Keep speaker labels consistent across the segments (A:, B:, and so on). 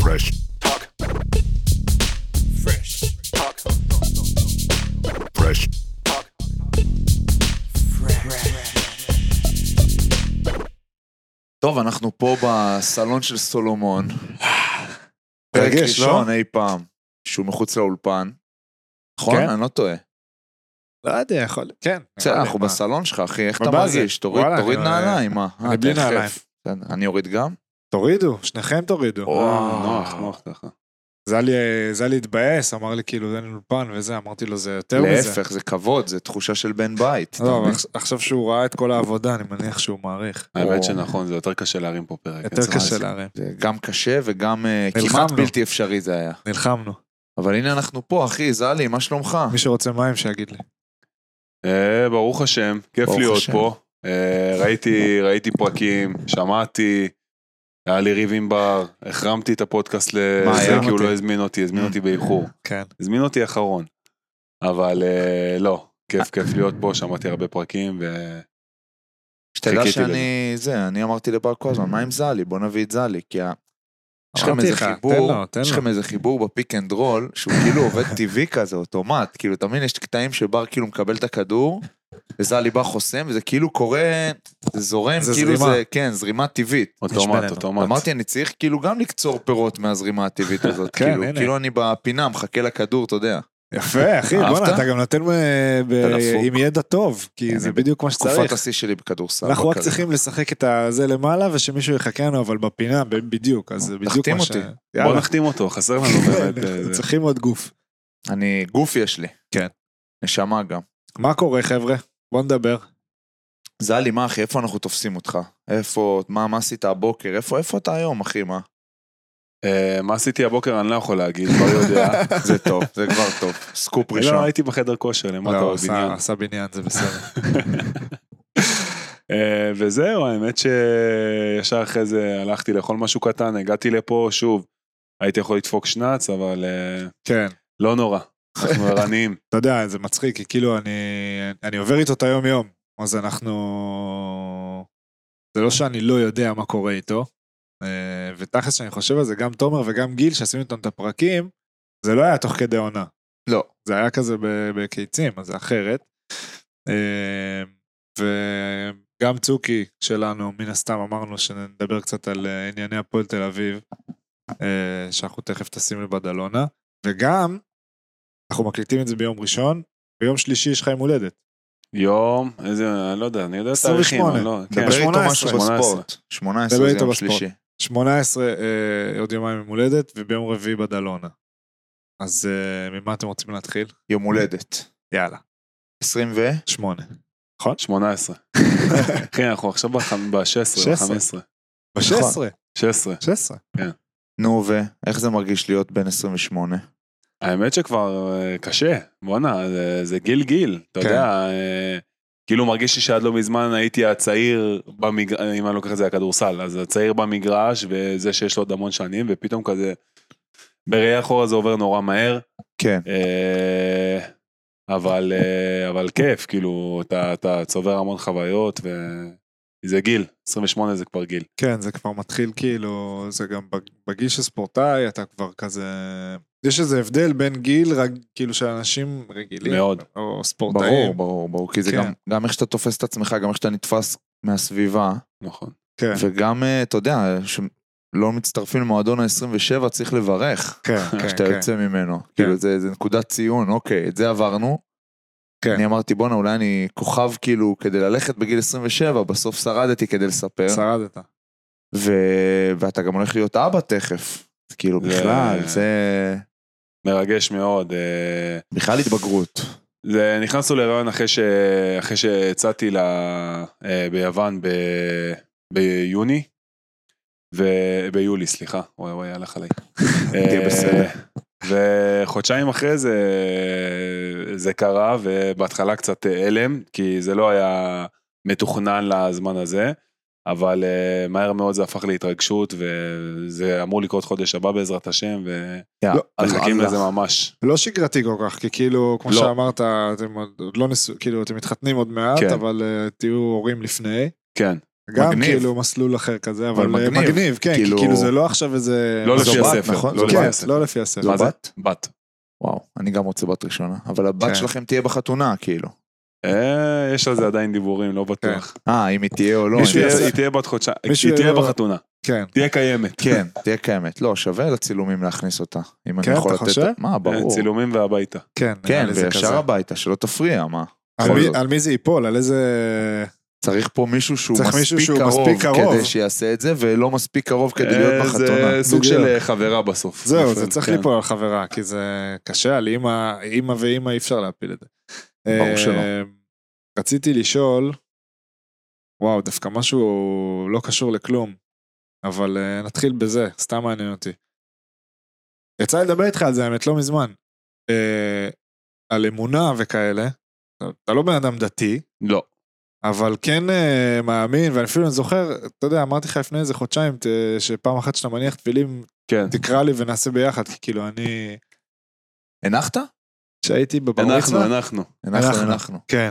A: Fresh. Talk.
B: Fresh.
A: Talk. Fresh. Talk.
C: טוב, אנחנו פה בסלון של סולומון. פרק
D: מרגש, לא?
C: ראשון אי פעם, שהוא מחוץ לאולפן. נכון?
D: כן.
C: אני לא טועה.
D: לא יודע, יכול... כן.
C: בסדר,
D: יכול
C: אנחנו
D: להיות,
C: בסלון שלך, אחי, איך אתה
D: בבאזל.
C: מרגיש? תוריד
D: וואלה,
C: תוריד
D: אני-
C: נעליים, מה?
D: אני
C: אה,
D: בלי
C: תכף.
D: נעליים.
C: בסדר, אני אוריד גם?
D: מה. תורידו, שניכם תורידו.
C: וואו.
E: נוח, נוח ככה.
D: זלי זלי התבאס, אמר לי כאילו אין אולפן וזה, אמרתי לו זה יותר מזה.
C: להפך, זה כבוד, זה תחושה של בן בית.
D: לא, אבל עכש- עכשיו שהוא ראה את כל העבודה, אני מניח שהוא מעריך.
C: וואו.
E: האמת שנכון, זה יותר קשה להרים פה פרק.
D: יותר
E: צריך
D: קשה
E: להזכיר.
D: להרים.
C: אה, זה גם קשה וגם אה,
D: נלחמנו.
C: כמעט בלתי אפשרי זה היה.
D: נלחמנו.
C: אבל הנה אנחנו פה, אחי, זלי, מה שלומך?
D: מי שרוצה מים שיגיד לי.
E: אה, ברוך השם, כיף
C: ברוך
E: להיות
C: השם.
E: פה. אה, ראיתי, ראיתי פרקים, שמעתי, היה לי ריב עם בר, החרמתי את הפודקאסט
C: מה,
E: לזה
C: היה
E: כי הוא
C: אותי?
E: לא הזמין אותי, הזמין אותי באיחור.
D: כן.
E: הזמין אותי אחרון. אבל אה, לא, כיף כיף להיות פה, שמעתי הרבה פרקים וחיכיתי
C: שתדע
E: לזה.
C: שאני, זה, אני אמרתי לבר כל
D: Mm.
C: הזמן, מה עם זלי? בוא נביא את זלי, כי ה- יש לכם
D: אמרתי
C: איזה
D: לך, תן
C: חיבור,
D: לו, תן
C: יש
D: לו.
C: לכם איזה חיבור בפיק אנד רול, שהוא כאילו עובד טבעי כזה, אוטומט, כאילו, תמיד יש קטעים שבר כאילו מקבל את הכדור, וזלי בא חוסם, וזה כאילו קורה, זה זורם,
D: זה
C: כאילו
D: זרימה.
C: זה, כן, זרימה טבעית.
E: אוטומט,
D: בינינו.
E: אוטומט.
C: אמרתי, אני צריך כאילו גם לקצור פירות מהזרימה הטבעית הזאת,
D: כן,
C: כאילו,
D: הנה.
C: כאילו אני בפינה, מחכה לכדור, אתה יודע.
D: יפה, אחי,
C: אהבת?
D: בואנה, אתה גם נותן אה, ב-
C: אתה דפוק.
D: עם ידע טוב, כי
C: אני
D: זה
C: ב-
D: בדיוק מה
C: תקופת
D: שצריך.
C: השיא שלי בכדורסל.
D: אנחנו רק
C: בקריירה.
D: צריכים לשחק את הזה למעלה, ושמישהו יחכה לנו, אבל בפינה, ב- בדיוק, אז זה בדיוק
C: תחתים
D: מה ש...
C: אותי.
E: בוא
D: יאללה.
E: נחתים אותו, חסר לנו באמת. אה, זה.
D: צריכים עוד גוף.
C: אני, גוף יש לי.
D: כן.
C: נשמה גם.
D: מה קורה, חבר'ה? בוא נדבר.
C: זלי, מה אחי, איפה אנחנו תופסים אותך? איפה, מה, מה עשית הבוקר? איפה, איפה אתה היום, אחי, מה?
E: אה, מה עשיתי הבוקר אני לא יכול להגיד, כבר יודע.
C: זה טוב, זה כבר טוב. סקופ
E: לא,
C: ראשון.
E: הייתי בחדר כושר למטה
D: לא,
E: בבניין.
D: עשה- עשה בניין, זה בסדר.
E: אה, וזהו, האמת שישר אחרי זה הלכתי לאכול משהו קטן, הגעתי לפה שוב. הייתי יכול לדפוק שנץ, אבל אה,
D: כן.
E: לא נורא. אנחנו ערניים.
D: אתה יודע, זה מצחיק, כי כאילו אני, אני עובר איתו את היום-יום, אז אנחנו... זה לא שאני לא יודע מה קורה איתו, אה, ותכלס שאני חושב על זה, גם תומר וגם גיל, שעשינו איתם את הפרקים, זה לא היה תוך כדי עונה.
C: לא.
D: זה היה כזה ב- בקיצים, אז זה אחרת. אה, וגם צוקי שלנו, מן הסתם אמרנו שנדבר קצת על אה, ענייני הפועל תל אביב, אה, שאנחנו תכף טסים לבדלונה, וגם אנחנו מקליטים את זה ביום ראשון, ביום שלישי יש לך יום הולדת.
E: יום, איזה, אני לא יודע, אני יודע את התאריכים,
D: 28.
E: אני לא, כן.
C: דבר איתו
D: 18.
C: משהו בספורט. 18
D: דבר
C: זה
D: איתו
C: יום
D: בספורט.
C: שלישי.
D: 18 אה, עוד יומיים יום הולדת, וביום רביעי בדלונה. אז אה, ממה אתם רוצים להתחיל?
C: יום הולדת.
D: יאללה.
C: 20 ו?
D: שמונה.
E: 18. כן, אנחנו עכשיו ב-16,
D: 16.
E: ב-15.
D: ב-16.
E: 16.
D: 16.
C: נו, ו? איך זה מרגיש להיות בן 28?
E: האמת שכבר אה, קשה, בואנה, זה, זה גיל גיל, אתה
D: כן.
E: יודע, אה, כאילו מרגיש לי שעד לא מזמן הייתי הצעיר, במגר... אם אני לא לוקח את זה לכדורסל, אז הצעיר במגרש וזה שיש לו עוד המון שנים, ופתאום כזה, בראייה אחורה זה עובר נורא מהר,
C: כן.
E: אה, אבל, אה, אבל כיף, כאילו, אתה, אתה צובר המון חוויות, וזה גיל, 28 זה כבר גיל.
D: כן, זה כבר מתחיל כאילו, זה גם בג- בגיל של ספורטאי, אתה כבר כזה... יש איזה הבדל בין גיל, רק כאילו של אנשים רגילים.
E: מאוד.
D: או
C: ברור,
D: ספורטאים.
C: ברור, ברור. כי זה
D: כן.
C: גם- גם איך שאתה תופס את עצמך, גם איך שאתה נתפס מהסביבה.
E: נכון.
D: כן,
C: וגם, אה, אתה יודע, שלא מצטרפים למועדון ה-27, צריך לברך.
D: כן, כן,
C: כשאתה
D: כן.
C: יוצא ממנו. כאילו זה, זה נקודת ציון, אוקיי, את זה עברנו.
D: כן.
C: אני אמרתי, בואנה, אולי אני כוכב כאילו כדי ללכת בגיל 27, בסוף שרדתי כדי לספר.
D: כן. שרדת.
C: ו... ואתה גם הולך להיות אבא תכף. אז כאילו,
E: זה-
C: בכלל, זה...
E: מרגש מאוד. אה,
C: בכלל התבגרות.
E: זה נכנסנו להיריון אחרי, ש... אחרי שהצעתי ל... אה, ביוון ב... ביוני, ו... ביולי, סליחה, וואי וואי, הלך עליי.
C: תהיה בסדר.
E: אה, וחודשיים אחרי זה, זה קרה, ובהתחלה קצת הלם, כי זה לא היה מתוכנן לזמן הזה, אבל אה, מהר מאוד זה הפך להתרגשות, וזה אמור לקרות חודש הבא בעזרת השם,
C: יא, אללה,
E: ומחכים
C: אללה.
E: לזה ממש.
D: לא שגרתי כל כך, כי כאילו, כמו
E: לא.
D: שאמרת, אתם עוד עוד לא נשאו, כאילו, אתם מתחתנים עוד מעט,
E: כן.
D: אבל אה, תהיו הורים לפני.
E: כן.
D: גם
C: מגניב.
D: כאילו מסלול אחר כזה, אבל
C: אבל
D: אה,
C: מגניב.
D: מגניב, כן, כי
C: כאילו-
D: כאילו זה לא עכשיו איזה...
E: לא
C: זו
E: לפי
C: בת,
E: הספר.
C: נכון?
E: לא
C: זו
E: לפי
D: כן,
E: הספר.
D: לא לפי הספר.
E: מה זה?
C: בת?
E: בת.
C: וואו, אני גם רוצה בת ראשונה. אבל הבת
D: כן.
C: שלכם תהיה בחתונה, כאילו.
E: אה, יש על זה עדיין דיבורים,
D: כן.
E: לא בטוח.
C: אה, אם היא תהיה או לא.
E: היא
D: מישהו
C: אני-
E: תהיה-
D: יעשה-
E: היא תהיה בת חודשיים,
D: מישהו
E: היא תהיה
D: יעשה-
E: בחתונה,
D: כן.
E: תהיה קיימת.
C: כן, תהיה קיימת. לא, שווה לצילומים להכניס אותה. אם אני
D: כן,
C: יכול
D: אתה
C: לתת...
D: חושב?
C: מה,
E: אה,
C: ברור.
E: צילומים והביתה.
D: כן,
C: כן,
D: נראה לי זה
C: וישר
D: כזה.
C: הביתה, שלא תפריע, מה?
D: על
C: בכל
D: מי-
C: זאת.
D: על מי זה ייפול? על איזה...
C: צריך פה מישהו שהוא
D: צריך מישהו
C: מספיק
D: שהוא
C: קרוב
D: מספיק קרוב.
C: כדי שיעשה את זה, ולא מספיק קרוב כדי
E: אה,
C: להיות בחתונה.
E: זה סוג
D: בדיוק.
E: של אה, חברה בסוף.
D: זהו,
E: נופל,
D: זה צריך
E: כן.
D: ליפול על חברה, כי זה קשה, על אימא, אימא ואימא אי אפשר להפיל את זה.
C: ברור שלא.
D: אה, רציתי לשאול, וואו, דווקא משהו לא קשור לכלום, אבל אה, נתחיל בזה, סתם מעניין אותי. יצא לי לדבר איתך על זה, האמת, לא מזמן. אה, על אמונה וכאלה. אתה- אתה לא בן אדם דתי,
E: לא.
D: אבל כן אה, מאמין, ואני אפילו זוכר, אתה יודע, אמרתי לך לפני איזה חודשיים, ת- שפעם אחת שאתה מניח תפילים,
E: כן.
D: תקרא לי ונעשה ביחד, כי כאילו אני...
C: הנחת?
D: כשהייתי בבר
E: אנחנו,
D: מצווה-
E: אנחנו.
C: הנחנו, הנחנו.
D: כן.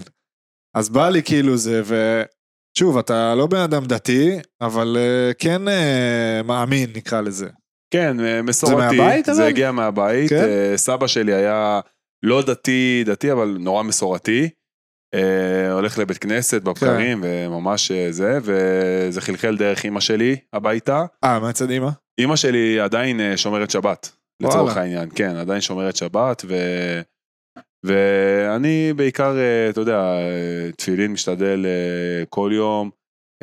D: אז בא לי כאילו זה, ושוב, אתה לא בן אדם דתי, אבל אה, כן אה, מאמין, נקרא לזה.
E: כן, אה, מסורתי.
D: מהבית,
E: זה
D: אבל?
E: הגיע מהבית.
D: כן.
E: אה, סבא שלי היה לא דתי, דתי, אבל נורא מסורתי. אה, הולך לבית כנסת
D: כן.
E: בבקרים, וממש אה, זה, וזה חלחל דרך אימא שלי הביתה.
D: אה, מהצד אימא?
E: אימא שלי עדיין אה, שומרת שבת, לצורך
D: וואלה.
E: העניין, כן, עדיין שומרת שבת, ו... ואני בעיקר, אה, אתה יודע, אה, תפילין משתדל אה, כל יום,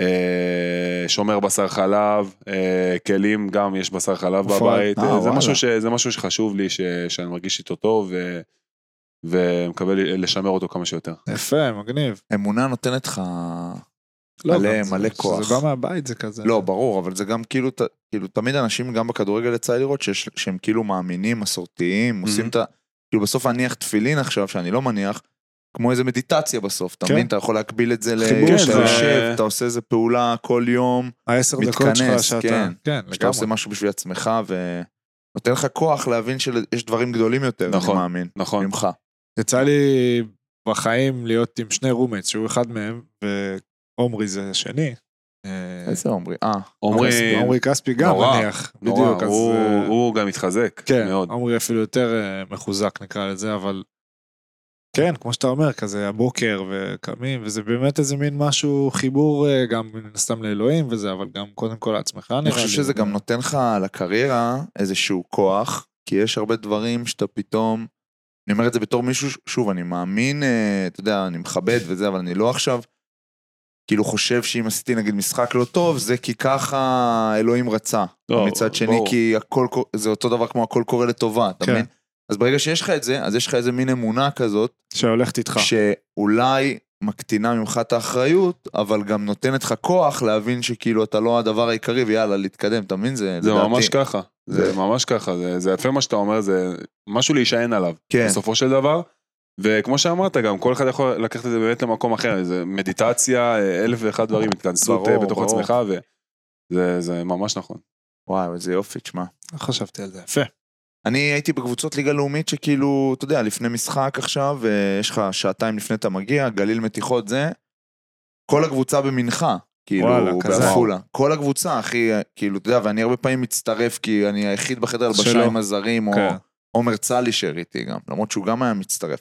E: אה, שומר בשר חלב, אה, כלים גם יש בשר חלב
D: אופה,
E: בבית,
C: אה,
E: אה, זה
C: וואלה.
E: משהו, ש... זה משהו שחשוב לי, ש... שאני מרגיש איתו טוב, ו... ומקווה לשמר אותו כמה שיותר.
D: יפה, מגניב.
C: אמונה נותנת לך...
D: לא,
C: מלא,
D: אבל זה-
C: מלא כוח.
D: שזה בא מהבית זה כזה.
C: לא, ברור, אבל זה גם כאילו, ת- כאילו, תמיד אנשים גם בכדורגל יצא לי לראות שיש- שהם כאילו מאמינים,
D: Mm-hmm.
C: מסורתיים, עושים את ה... כאילו בסוף להניח תפילין עכשיו, שאני לא מניח, כמו איזה מדיטציה בסוף, אתה
D: כן.
C: מבין? אתה יכול להקביל את זה ל...
D: חיבור
C: שאתה
E: זה-
C: יושב, אתה עושה איזה פעולה כל יום,
D: העשר דקות שלך
C: מתכנס,
D: שאתה...
C: כן.
D: כן,
C: שאתה עושה
D: לגמרי.
C: משהו בשביל עצמך, ונותן לך כוח להבין שיש דברים גדולים יותר,
E: נכון.
C: אני מאמין,
E: נכון.
C: ממך.
D: יצא לי בחיים להיות עם שני רומץ, שהוא אחד מהם, ועומרי זה השני. אה,
C: איזה עומרי? אה,
E: עומרי,
D: עומרי כספי גם,
E: נורא,
D: נניח.
E: נורא,
D: בדיוק, אז...
E: הוא,
D: אה,
E: הוא גם התחזק
D: כן,
E: מאוד.
D: עומרי אפילו יותר אה, מחוזק נקרא לזה, אבל כן, כמו שאתה אומר, כזה הבוקר וקמים, וזה באמת איזה מין משהו, חיבור אה, גם מן הסתם לאלוהים וזה, אבל גם קודם כל לעצמך נראה לי. לא.
C: אני חושב שזה גם נותן לך לקריירה איזשהו כוח, כי יש הרבה דברים שאתה פתאום... אני אומר את זה בתור מישהו, ש- שוב, אני מאמין, אה, אתה יודע, אני מכבד וזה, אבל אני לא עכשיו כאילו חושב שאם עשיתי נגיד משחק לא טוב, זה כי ככה אלוהים רצה.
E: לא,
C: מצד שני,
E: ברור.
C: כי הכל, קור- זה אותו דבר כמו הכל קורה לטובה, אתה
D: כן.
C: מבין? אז ברגע שיש לך את זה, אז יש לך איזה מין אמונה כזאת,
D: שהולכת איתך.
C: שאולי מקטינה ממך את האחריות, אבל גם נותנת לך כוח להבין שכאילו אתה לא הדבר העיקרי, ויאללה, להתקדם, אתה מבין? זה
E: זה
C: לדעתי.
E: ממש ככה, זה
C: זה-
E: ממש ככה, זה, זה יפה מה שאתה אומר, זה משהו להישען עליו,
C: כן.
E: בסופו של דבר. וכמו שאמרת, גם כל אחד יכול לקחת את זה באמת למקום אחר, זה מדיטציה, אה, אלף ואחד דברים, התכנסות
C: ברור,
E: ברור, בתוך
C: ברור.
E: עצמך, וזה זה ממש נכון.
C: וואו, איזה יופי, תשמע.
D: לא חשבתי על זה. יפה.
C: אני הייתי בקבוצות ליגה לאומית שכאילו, אתה יודע, לפני משחק עכשיו, אה, יש לך שעתיים לפני אתה מגיע, גליל מתיחות זה, כל הקבוצה במנחה,
D: וואלה,
C: כאילו,
D: כזה.
C: בעפולה. כל הקבוצה, אחי, אה, כאילו, אתה יודע, ואני הרבה פעמים מצטרף, כי אני היחיד בחדר
D: שלא.
C: הלבשה עם הזרים, או
D: כן.
C: עומר צלישר איתי גם, למרות שהוא גם היה מצטרף.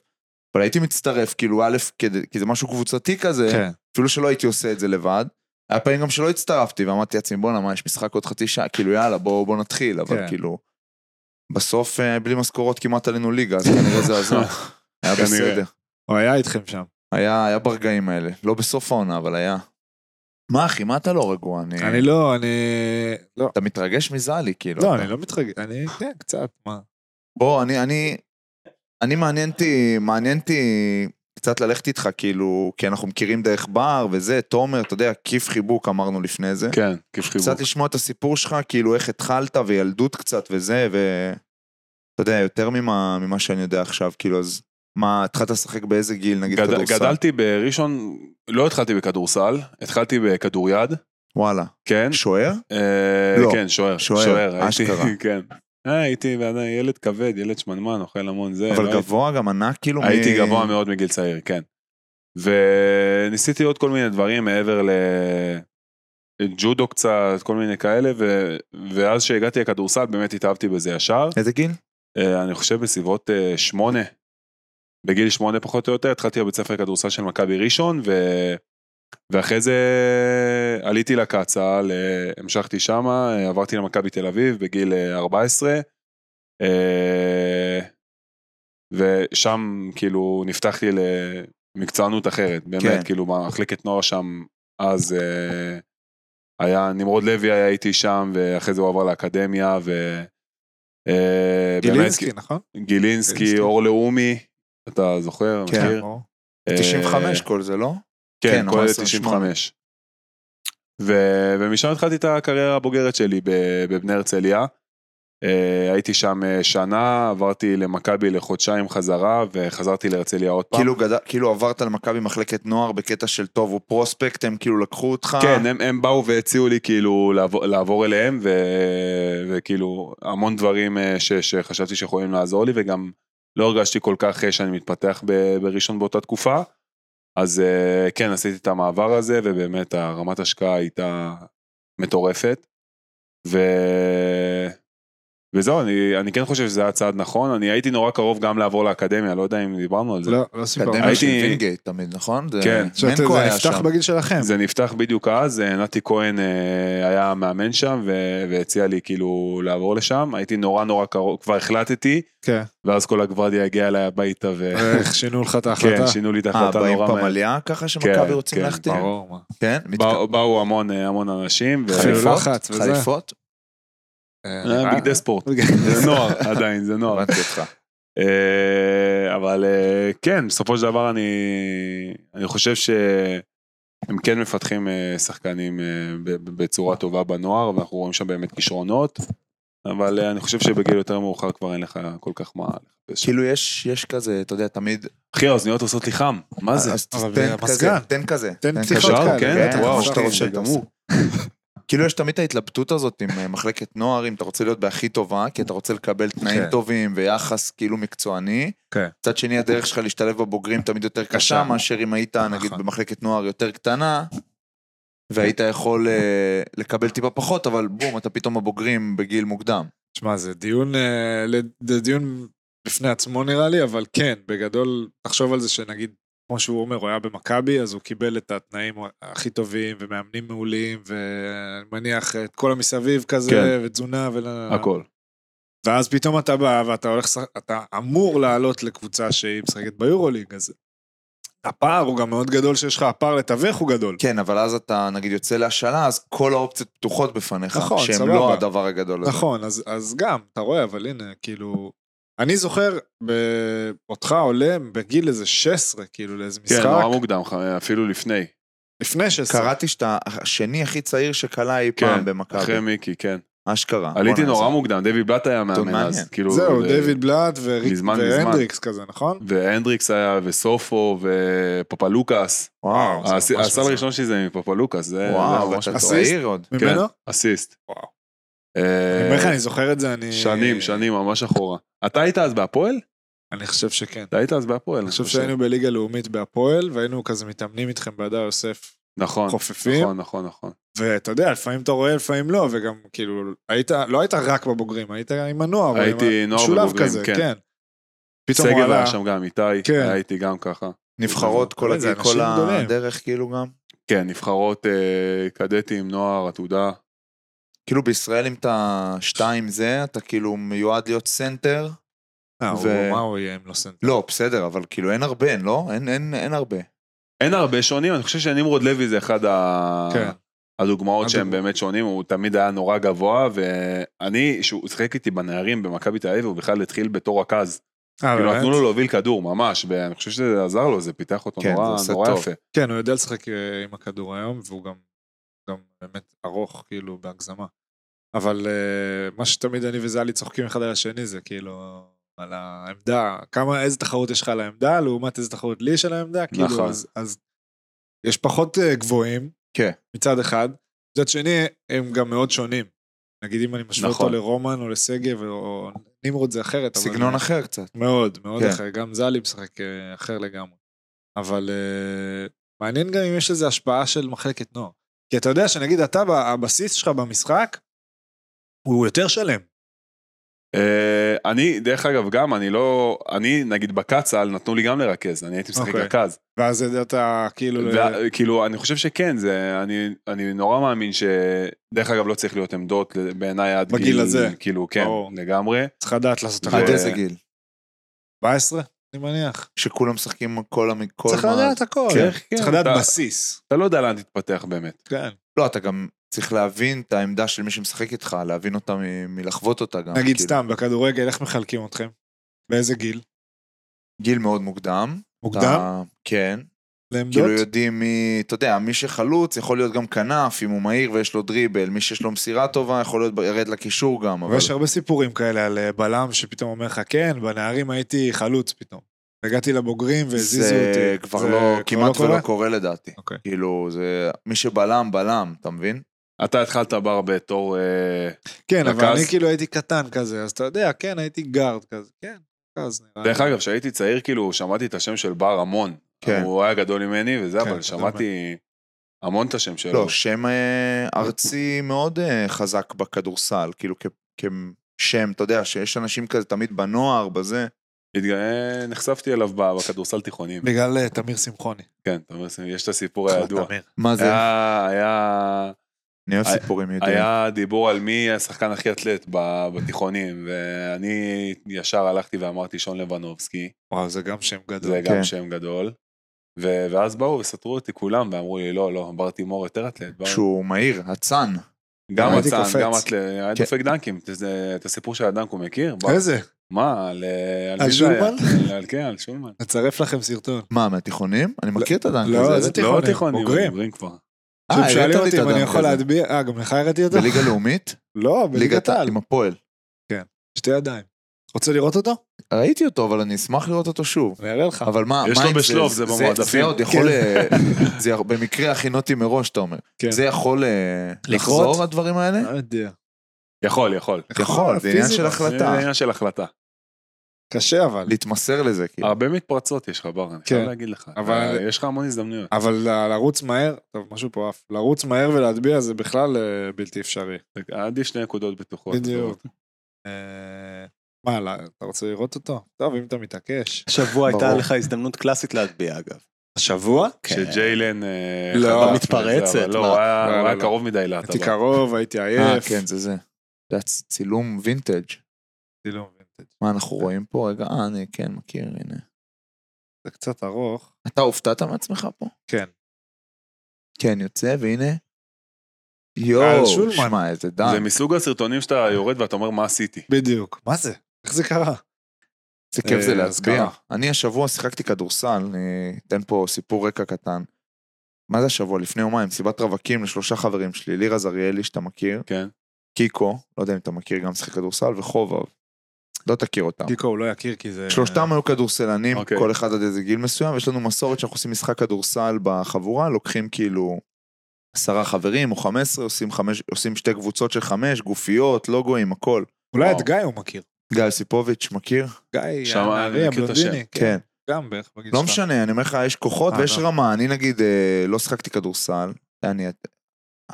C: אבל הייתי מצטרף, כאילו, א', כדי- כי זה משהו קבוצתי כזה,
D: כן.
C: אפילו שלא הייתי עושה את זה לבד. היה פעמים גם שלא הצטרפתי, ואמרתי לעצמי, בואנה, מה, יש משחק עוד חצי שעה? כאילו, יאללה, בואו בוא נתחיל, אבל
D: כן.
C: כאילו... בסוף, אה, בלי משכורות כמעט עלינו ליגה, אז כנראה זה עזר. היה
E: כנראה.
C: בסדר.
D: הוא היה איתכם שם.
C: היה, היה ברגעים האלה. לא בסוף העונה, אבל היה. מה, אחי, מה אתה לא רגוע? אני...
D: אני לא, אני... לא.
C: אתה מתרגש מזלי, כאילו.
D: לא,
C: אתה-
D: אני לא מתרגש, אני, כן, קצת, מה.
C: בוא, אני, אני, אני מעניין אותי, מעניין אותי קצת ללכת איתך, כאילו, כי אנחנו מכירים דרך בר וזה, תומר, אתה יודע, כיף חיבוק אמרנו לפני זה.
E: כן, כיף חיבור.
C: קצת לשמוע את הסיפור שלך, כאילו, איך התחלת וילדות קצת וזה, ו... אתה יודע, יותר ממה, ממה שאני יודע עכשיו, כאילו, אז מה, התחלת לשחק באיזה גיל, נגיד,
E: גד-
C: כדורסל?
E: גדלתי בראשון, לא התחלתי בכדורסל, התחלתי בכדוריד,
C: וואלה.
E: כן,
C: שוער?
E: אה,
C: לא.
E: כן, שוער,
C: שוער,
E: הייתי,
C: אשכרה.
E: כן. אה, הייתי ועדיין ילד כבד, ילד שמנמן, אוכל המון זה. לא
C: אבל
E: הייתי-
C: גבוה, גם ענק, כאילו?
E: הייתי
C: מ-
E: גבוה מאוד מגיל צעיר, כן. וניסיתי עוד כל מיני דברים מעבר ל... ג'ודו קצת, כל מיני כאלה, ו... ואז שהגעתי לכדורסל באמת התאהבתי בזה ישר.
C: איזה גיל?
E: אה, אני חושב בסביבות אה, שמונה. בגיל שמונה פחות או יותר התחלתי בבית ספר כדורסל של מכבי ראשון, ו... ואחרי זה עליתי לקצ"ל, אה, המשכתי שמה, אה, עברתי למכבי תל אביב בגיל אה, 14, אה, ושם כאילו נפתחתי למקצוענות אחרת, באמת,
C: כן.
E: כן. כאילו מחלקת נוער שם אז אה, היה, נמרוד לוי היה איתי שם, ואחרי זה הוא עבר לאקדמיה, ו... אה,
D: גילינסקי,
E: באמת,
D: נכון?
E: גילינסקי,
D: גילינסקי.
E: אור לאומי, אתה זוכר,
C: כן.
E: מכיר?
D: ברור.
E: אה,
C: 95 כל זה, לא? כן,
E: כן, כל אלה
C: 98.
E: 95. ו- ומשם התחלתי את הקריירה הבוגרת שלי ב- בבני הרצליה. אה, הייתי שם אה, שנה, עברתי למכבי לחודשיים חזרה, וחזרתי להרצליה עוד פעם.
C: כאילו, גד... כאילו עברת למכבי מחלקת נוער בקטע של טוב הוא פרוספקט, הם כאילו לקחו אותך.
E: כן, הם, הם באו והציעו לי כאילו לעבור, לעבור אליהם, ו, וכאילו המון דברים אה, ש, שחשבתי שיכולים לעזור לי, וגם לא הרגשתי כל כך אה, שאני מתפתח ב, בראשון באותה תקופה. אז אה, כן, עשיתי את המעבר הזה, ובאמת הרמת השקעה הייתה מטורפת. ו... וזהו, אני, אני כן חושב שזה היה צעד נכון. אני הייתי נורא קרוב גם לעבור לאקדמיה, לא יודע אם דיברנו על זה.
D: לא, לא סיפרנו.
C: אקדמיה של
E: הייתי-
C: וינגייט תמיד, נכון? זה-
E: כן.
D: עכשיו,
C: מנקו
D: זה
C: היה
D: נפתח
C: שם.
D: בגיל שלכם.
E: זה נפתח בדיוק אז, אה, נתי כהן אה, היה מאמן שם ו- והציע לי כאילו לעבור לשם, הייתי נורא נורא קרוב, כבר החלטתי,
D: כן.
E: ואז כל הגוורדיה הגיעה אליי הביתה ו...
D: איך שינו אה, לך את
E: כן,
D: ההחלטה.
E: שינו לי את
C: אה,
E: ההחלטה
C: באים
E: נורא מהר.
C: פמליה ככה שמכבי
E: כן,
C: רוצים
E: כן,
C: להחתים?
D: ברור, מה.
C: כן,
E: באו- באו המון אה, המון אנשים, ו-
D: חליפות?
C: חליפות?
D: לחץ וזה.
C: חליפות?
E: אה, בגדי ספורט, זה נוער עדיין, זה נוער.
C: הבנתי אותך.
E: אה, אבל אה, כן, בסופו של דבר אני, אני חושב שהם כן מפתחים אה, שחקנים אה, ב- ב- בצורה טובה בנוער, ואנחנו רואים שם באמת כישרונות, אבל אה, אני חושב שבגיל יותר מאוחר כבר אין לך כל כך מה לחפש.
C: כאילו יש יש כזה, אתה יודע, תמיד...
E: אחי, האוזניות עושות לי חם, מה זה?
C: אז
D: אבל
C: תן כזה,
D: במזגן.
C: תן כזה.
D: תן
C: כזה.
D: פתיחות כאלה.
E: אפשר? כן?
D: בטח,
E: וואו,
D: אפשר.
C: שאתה רוצה.
E: גמור.
C: כאילו יש תמיד את ההתלבטות הזאת עם אה, מחלקת נוער, אם אתה רוצה להיות בהכי טובה, כי אתה רוצה לקבל תנאים
D: כן.
C: טובים ויחס כאילו מקצועני.
D: כן.
C: מצד שני, הדרך שלך להשתלב בבוגרים תמיד יותר קשה,
D: קשה.
C: מאשר אם היית נגיד
D: נכון. כן.
C: במחלקת נוער יותר קטנה, והיית יכול אה, לקבל טיפה פחות, אבל בום, אתה פתאום בבוגרים בגיל מוקדם.
D: שמע, זה דיון, אה, לד- זה דיון בפני עצמו נראה לי, אבל כן, בגדול, תחשוב על זה שנגיד, כמו שהוא אומר, הוא היה במכבי, אז הוא קיבל את התנאים הכי טובים, ומאמנים מעולים, ואני מניח את כל המסביב כזה,
E: כן.
D: ותזונה ול...
E: הכל.
D: ואז פתאום אתה בא, ואתה הולך, לשחק- אתה אמור לעלות לקבוצה שהיא משחקת ביורוליג, אז הפער הוא גם מאוד גדול שיש לך, הפער לתווך הוא גדול.
C: כן, אבל אז אתה נגיד יוצא להשאלה, אז כל האופציות פתוחות בפניך,
D: נכון,
C: שהן
D: סבבה.
C: לא הדבר הגדול הזה.
D: נכון, אז, אז גם, אתה רואה, אבל הנה, כאילו... אני זוכר ב- אותך עולה בגיל איזה 16, כאילו, לאיזה
E: כן,
D: משחק,
E: נורא מוקדם, ח- אפילו לפני,
D: לפני 16.
C: קראתי שאתה השני הכי צעיר שקלה אי פעם
E: כן,
C: במכבי.
E: אחרי מיקי, כן.
C: אשכרה.
E: עליתי
C: בואנה,
E: נורא
C: זה-
E: מוקדם, דויד בלאט היה מאמן
C: מעניין.
E: אז. כאילו,
D: זהו,
E: זה-
D: דיוויד בלאט וריק-
E: מזמן, כן. מזמן.
D: והנדריקס כזה, נכון?
E: והנדריקס היה, וסופו, ופפלוקס.
C: וואו,
D: זה
E: הס-
D: ממש
E: הסל
D: מזל.
E: הראשון שלי זה מפפלוקס, זה אה, זה
C: וואו,
E: ממש
C: ואתה
E: מטורף.
D: אסיסט?
C: צעיר עוד.
E: כן,
D: ממנו?
E: אסיסט.
D: וואו.
E: אה,
D: אני אומר לך, אני זוכר את זה, אני...
E: שנים, שנים, ממש אחורה. אתה היית אז בהפועל?
D: אני חושב שכן.
E: אתה היית אז בהפועל.
D: אני חושב שהיינו בליגה לאומית בהפועל, והיינו כזה מתאמנים איתכם בהדר יוסף
E: נכון,
D: חופפים,
E: נכון, נכון, נכון.
D: ואתה יודע, לפעמים אתה רואה, לפעמים לא, וגם כאילו, היית, לא היית רק בבוגרים, היית עם הנוער.
E: הייתי
D: עם ה-
E: נוער
D: משולב
E: ובוגרים,
D: כזה,
E: כן.
D: כן. פתאום הוא
E: שגב
D: עלה,
E: היה שם גם, איתי,
D: כן.
E: היה איתי גם ככה.
C: נבחרות כל
D: זה
C: הגיל,
D: אנשים
C: כל
D: גדולים.
C: הדרך כאילו גם.
E: כן, נבחרות אה, קדטים, נוער, עתודה.
C: כאילו בישראל אם אתה שתיים זה, אתה כאילו מיועד להיות סנטר.
D: אה, הוא-
C: ו-
D: מה הוא יהיה אם לא סנטר?
C: לא, בסדר, אבל כאילו אין הרבה, לא? אין- אין אין הרבה.
E: אין הרבה שונים, אני חושב שנמרוד לוי זה אחד ה...
D: כן.
E: הדוגמאות שהם
D: הדוגמא-
E: באמת שונים, הוא תמיד היה נורא גבוה, ואני, שהוא שיחק איתי בנערים במכבי תל אביב, הוא בכלל התחיל בתור רכז.
D: אה,
E: כאילו נתנו
D: באמת?
E: לו להוביל כדור ממש, ואני חושב שזה עזר לו, זה פיתח אותו
C: כן, זה
E: נורא,
C: עושה
E: נורא
C: טוב.
E: יפה.
D: כן, הוא יודע לשחק אה, עם הכדור היום, והוא גם גם באמת ארוך, כאילו, בהגזמה. אבל אה, מה שתמיד אני וזלי צוחקים אחד על השני זה כאילו... על העמדה, כמה, איזה תחרות יש לך על העמדה, לעומת איזה תחרות לי יש על העמדה, כאילו,
E: נכון.
D: אז, אז יש פחות אה, גבוהים,
C: כן.
D: מצד אחד, מצד שני, הם גם מאוד שונים. נגיד אם אני משווה
E: נכון.
D: אותו לרומן או לשגב, או נמרוד זה אחרת, אבל...
C: סגנון אחר קצת.
D: מאוד, מאוד
C: כן.
D: כן. אחר. גם זלי משחק אה, אחר לגמרי. אבל אה, מעניין גם אם יש לזה השפעה של מחלקת נוער. כי אתה יודע שנגיד אתה, ב- הבסיס שלך במשחק, הוא יותר שלם.
E: אה, אני, דרך אגב, גם, אני לא... אני, נגיד, בקצ"ל, נתנו לי גם לרכז, אני הייתי משחק
D: אוקיי.
E: רכז.
D: ואז אתה כאילו... ל-
E: וכאילו, אני חושב שכן, זה... אני- אני נורא מאמין ש... דרך אגב, לא צריך להיות עמדות, בעיניי עד
D: בגיל הזה.
E: כאילו, כן,
D: ברור.
E: לגמרי.
D: צריך לדעת לעשות את
E: ו-
C: עד
D: הכל.
C: איזה גיל?
D: 14, אני מניח.
C: שכולם משחקים כל המ... כל
D: צריך
C: מה-
D: לדעת הכל.
C: כן.
E: כן,
D: צריך לדעת
E: אתה-
D: בסיס.
E: אתה לא יודע לאן תתפתח באמת.
D: כן.
C: לא, אתה גם צריך להבין את העמדה של מי שמשחק איתך, להבין אותה מ- מלחוות אותה גם.
D: נגיד
C: כאילו.
D: סתם, בכדורגל, איך מחלקים אתכם? באיזה גיל?
C: גיל מאוד מוקדם.
D: מוקדם?
C: אתה- כן. כאילו
D: לעמדות?
C: יודעים מי, אתה יודע, מי שחלוץ יכול להיות גם כנף, אם הוא מהיר ויש לו דריבל, מי שיש לו מסירה טובה יכול להיות ב- ירד לקישור גם, אבל...
D: ויש הרבה סיפורים כאלה על אה, בלם שפתאום אומר לך, כן, בנערים הייתי חלוץ פתאום. הגעתי לבוגרים והזיזו
C: זה
D: אותי.
C: כבר
D: זה
C: לא, כמעט
D: קורה?
C: ולא קורה לדעתי.
D: אוקיי.
C: כאילו, זה... מי שבלם, בלם, אתה מבין?
E: אתה התחלת בר בתור... אה,
D: כן, אבל
E: רכז?
D: אני כאילו הייתי קטן כזה, אז אתה יודע, כן, הייתי גארד כזה. כן, רכז נראה.
E: דרך
D: לי.
E: אגב, כשהייתי צעיר, כאילו, שמעתי את השם של בר המון.
C: כן.
E: הוא היה גדול ממני וזה,
D: כן,
E: אבל שמעתי המון את השם שלו.
C: לא, שם אה, ארצי מאוד אה, חזק בכדורסל, כאילו כ- כשם, אתה יודע, שיש אנשים כזה תמיד בנוער, בזה.
E: התגאה- אה, נחשפתי אליו ב- בכדורסל תיכונים.
D: בגלל אה, תמיר שמחוני. אה,
E: כן, אתה אומר, יש את הסיפור הידוע.
D: תמיר.
C: מה זה?
E: היה- היה...
C: אני אוהב
E: היה-
C: סיפורים ידועים.
E: היה דיבור על מי השחקן הכי אתלט ב- בתיכונים, ואני ישר הלכתי ואמרתי שון לבנובסקי,
D: וואו, זה גם שם גדול.
E: זה
C: כן.
E: גם שם גדול. ו- ואז באו וסתרו אותי כולם ואמרו לי, לא, לא, בר תימור יותר אתלט. בר-
C: שהוא מהיר, אצן.
E: גם
D: הייתי קופץ.
E: אצן, גם אתלט, היה
C: כן.
E: דופק דנקים, זה- את הסיפור של הדנק הוא מכיר? בר-
D: איזה?
E: מה, על... אה,
D: על
E: מי זה היה?
D: שולמן?
E: על- כן, על שולמן.
D: נצרף לכם סרטון.
C: מה, מהתיכונים? אני מכיר את הדנק
D: לא,
C: הזה.
D: זה תיכונים,
E: לא תיכונים,
D: בוגרים.
E: בוגרים כבר.
C: אה,
D: עכשיו, שואלים
C: הראית לי את
D: אותי אם אני
C: הדנק
D: יכול
C: הזה.
D: להטביע, אה, גם לך הראתי אותו?
C: בליגה לאומית?
D: לא,
C: ליגת
D: בליגת העל.
C: עם הפועל.
D: שתי ידיים. רוצה לראות אותו?
C: ראיתי אותו, אבל אני אשמח לראות אותו שוב.
D: אני אראה לך.
C: אבל מה,
E: יש
C: מה
E: לו
C: אם זה-
E: בשלוף, זה במועדפים.
C: זה עוד יכול... אה, זה במקרה הכינותי מראש, אתה אומר.
D: כן.
C: זה יכול אה,
D: לקרות?
C: לחזור, הדברים האלה?
D: לא יודע.
E: יכול, יכול.
C: יכול, זה עניין
D: פיזית.
C: של
E: זה
C: החלטה.
E: עניין של החלטה.
D: קשה אבל.
C: להתמסר לזה, כאילו.
E: הרבה מתפרצות יש לך, בר, אני חייב
D: כן.
E: להגיד לך.
D: אבל-
E: אה, יש לך המון הזדמנויות.
D: אבל ל- לרוץ מהר, טוב, משהו פה עף. לרוץ מהר ולהטביע זה בכלל אה, בלתי אפשרי.
E: עד יש שני נקודות בטוחות. לא,
D: בדיוק. אה, מה, לא- אתה רוצה לראות אותו? טוב, אם אתה מתעקש.
A: השבוע הייתה
C: ברור.
A: לך הזדמנות קלאסית להטביע, אגב. כן.
D: השבוע?
E: שג'יילן... אה,
D: לא,
E: חטף
A: מתפרצת,
E: וזה, אבל לא,
A: מה?
E: הוא היה-
D: לא,
E: הוא
D: לא,
E: היה
D: לא.
E: קרוב מדי להטבה.
D: הייתי קרוב, הייתי
C: אה,
D: עייף.
C: כן, זה זה. זה הצ- צילום וינטג'.
D: צילום וינטג'.
C: מה אנחנו רואים פה? רגע, אה, אני כן מכיר, הנה.
D: זה קצת ארוך.
C: אתה הופתעת מעצמך פה?
D: כן.
C: כן, יוצא, והנה.
D: על
C: יואו,
D: שולמן.
C: שמע, איזה דן.
E: זה מסוג הסרטונים שאתה יורד ואתה אומר מה עשיתי.
D: בדיוק. מה זה? איך זה קרה?
C: איזה כיף זה
D: אה,
C: להצביע.
D: אזכרה.
C: אני השבוע שיחקתי כדורסל, אני אתן פה סיפור רקע קטן. מה זה השבוע? לפני יומיים, מסיבת רווקים לשלושה חברים שלי, לירה זריאלי, שאתה מכיר,
E: כן.
C: קיקו, לא יודע אם אתה מכיר, גם שיחק כדורסל, וחובב. לא תכיר אותם.
D: קיקו הוא לא יכיר כי זה...
C: שלושתם היו כדורסלנים,
E: אוקיי.
C: כל אחד עד איזה גיל מסוים, ויש לנו מסורת שאנחנו עושים משחק כדורסל בחבורה, לוקחים כאילו עשרה חברים או חמש עשרה, עושים חמש- עושים שתי קבוצות של חמש, גופיות, לוגויים, הכל.
D: אולי את
E: וואו.
D: גיא הוא מכיר.
C: גיא סיפוביץ', מכיר?
D: גיא,
E: שמע,
D: הנערי,
E: אני מכיר את השם.
D: הבלונדיני.
C: כן.
D: גם בערך בגיל
C: לא
D: שלך.
C: משנה, אני אומר לך, יש כוחות
D: אה,
C: ויש
D: לא.
C: רמה. אני נגיד אה, לא שחקתי כדורסל, אני את-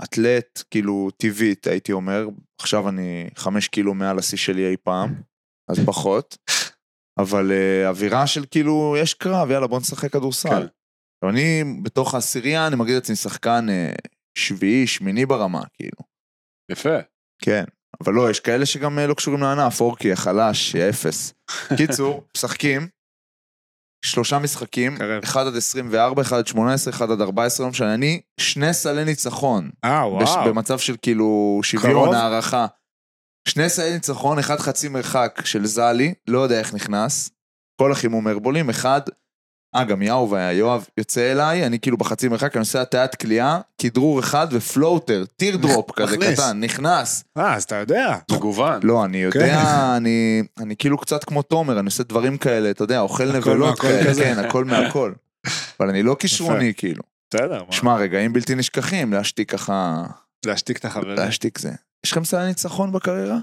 C: אתלט, כאילו טבעית, הייתי אומר. עכשיו אני חמש קילו מעל השיא שלי אי פעם, אז פחות. אבל אה, אווירה של כאילו, יש קרב, יאללה, בוא נשחק
E: כן.
C: כדורסל. אני בתוך העשירייה, אני מגדיר את עצמי שחקן אה, שביעי, שמיני ברמה, כאילו.
E: יפה.
C: כן, אבל לא, יש כאלה שגם אה, לא קשורים לענף, אורקי, החלש, האפס. קיצור, משחקים, שלושה משחקים,
D: קרב.
C: 1 עד 24, 1 עד 18, 1 עד 14, לא משנה, אני שני סלי ניצחון,
D: אה,
C: בש,
D: וואו.
C: במצב של כאילו שוויון,
D: קרוב?
C: הערכה. שני סלי ניצחון, אחד חצי מרחק של זלי, לא יודע איך נכנס, כל החימום הרבולים, אחד, אה, גם יאו והיה, יואב יוצא אליי, אני כאילו בחצי מרחק, אני עושה הטיית קליעה, כדרור אחד ופלוטר, טיר דרופ כזה
D: מכניס.
C: קטן, נכנס.
D: אה, אז אתה יודע.
E: מגוון.
C: לא, אני יודע,
D: כן.
C: אני, אני כאילו קצת כמו תומר, אני עושה דברים כאלה, אתה יודע, אוכל
D: הכל
C: נבלות
D: מהכל
C: כאלה,
D: כזה.
C: כן, הכל מהכל. אבל אני לא כישרוני, כאילו.
D: בסדר, מה?
C: שמע, רגעים בלתי נשכחים, להשתיק ככה,
D: להשתיק את החברים.
C: להשתיק זה. יש לכם סל ניצחון בקריירה?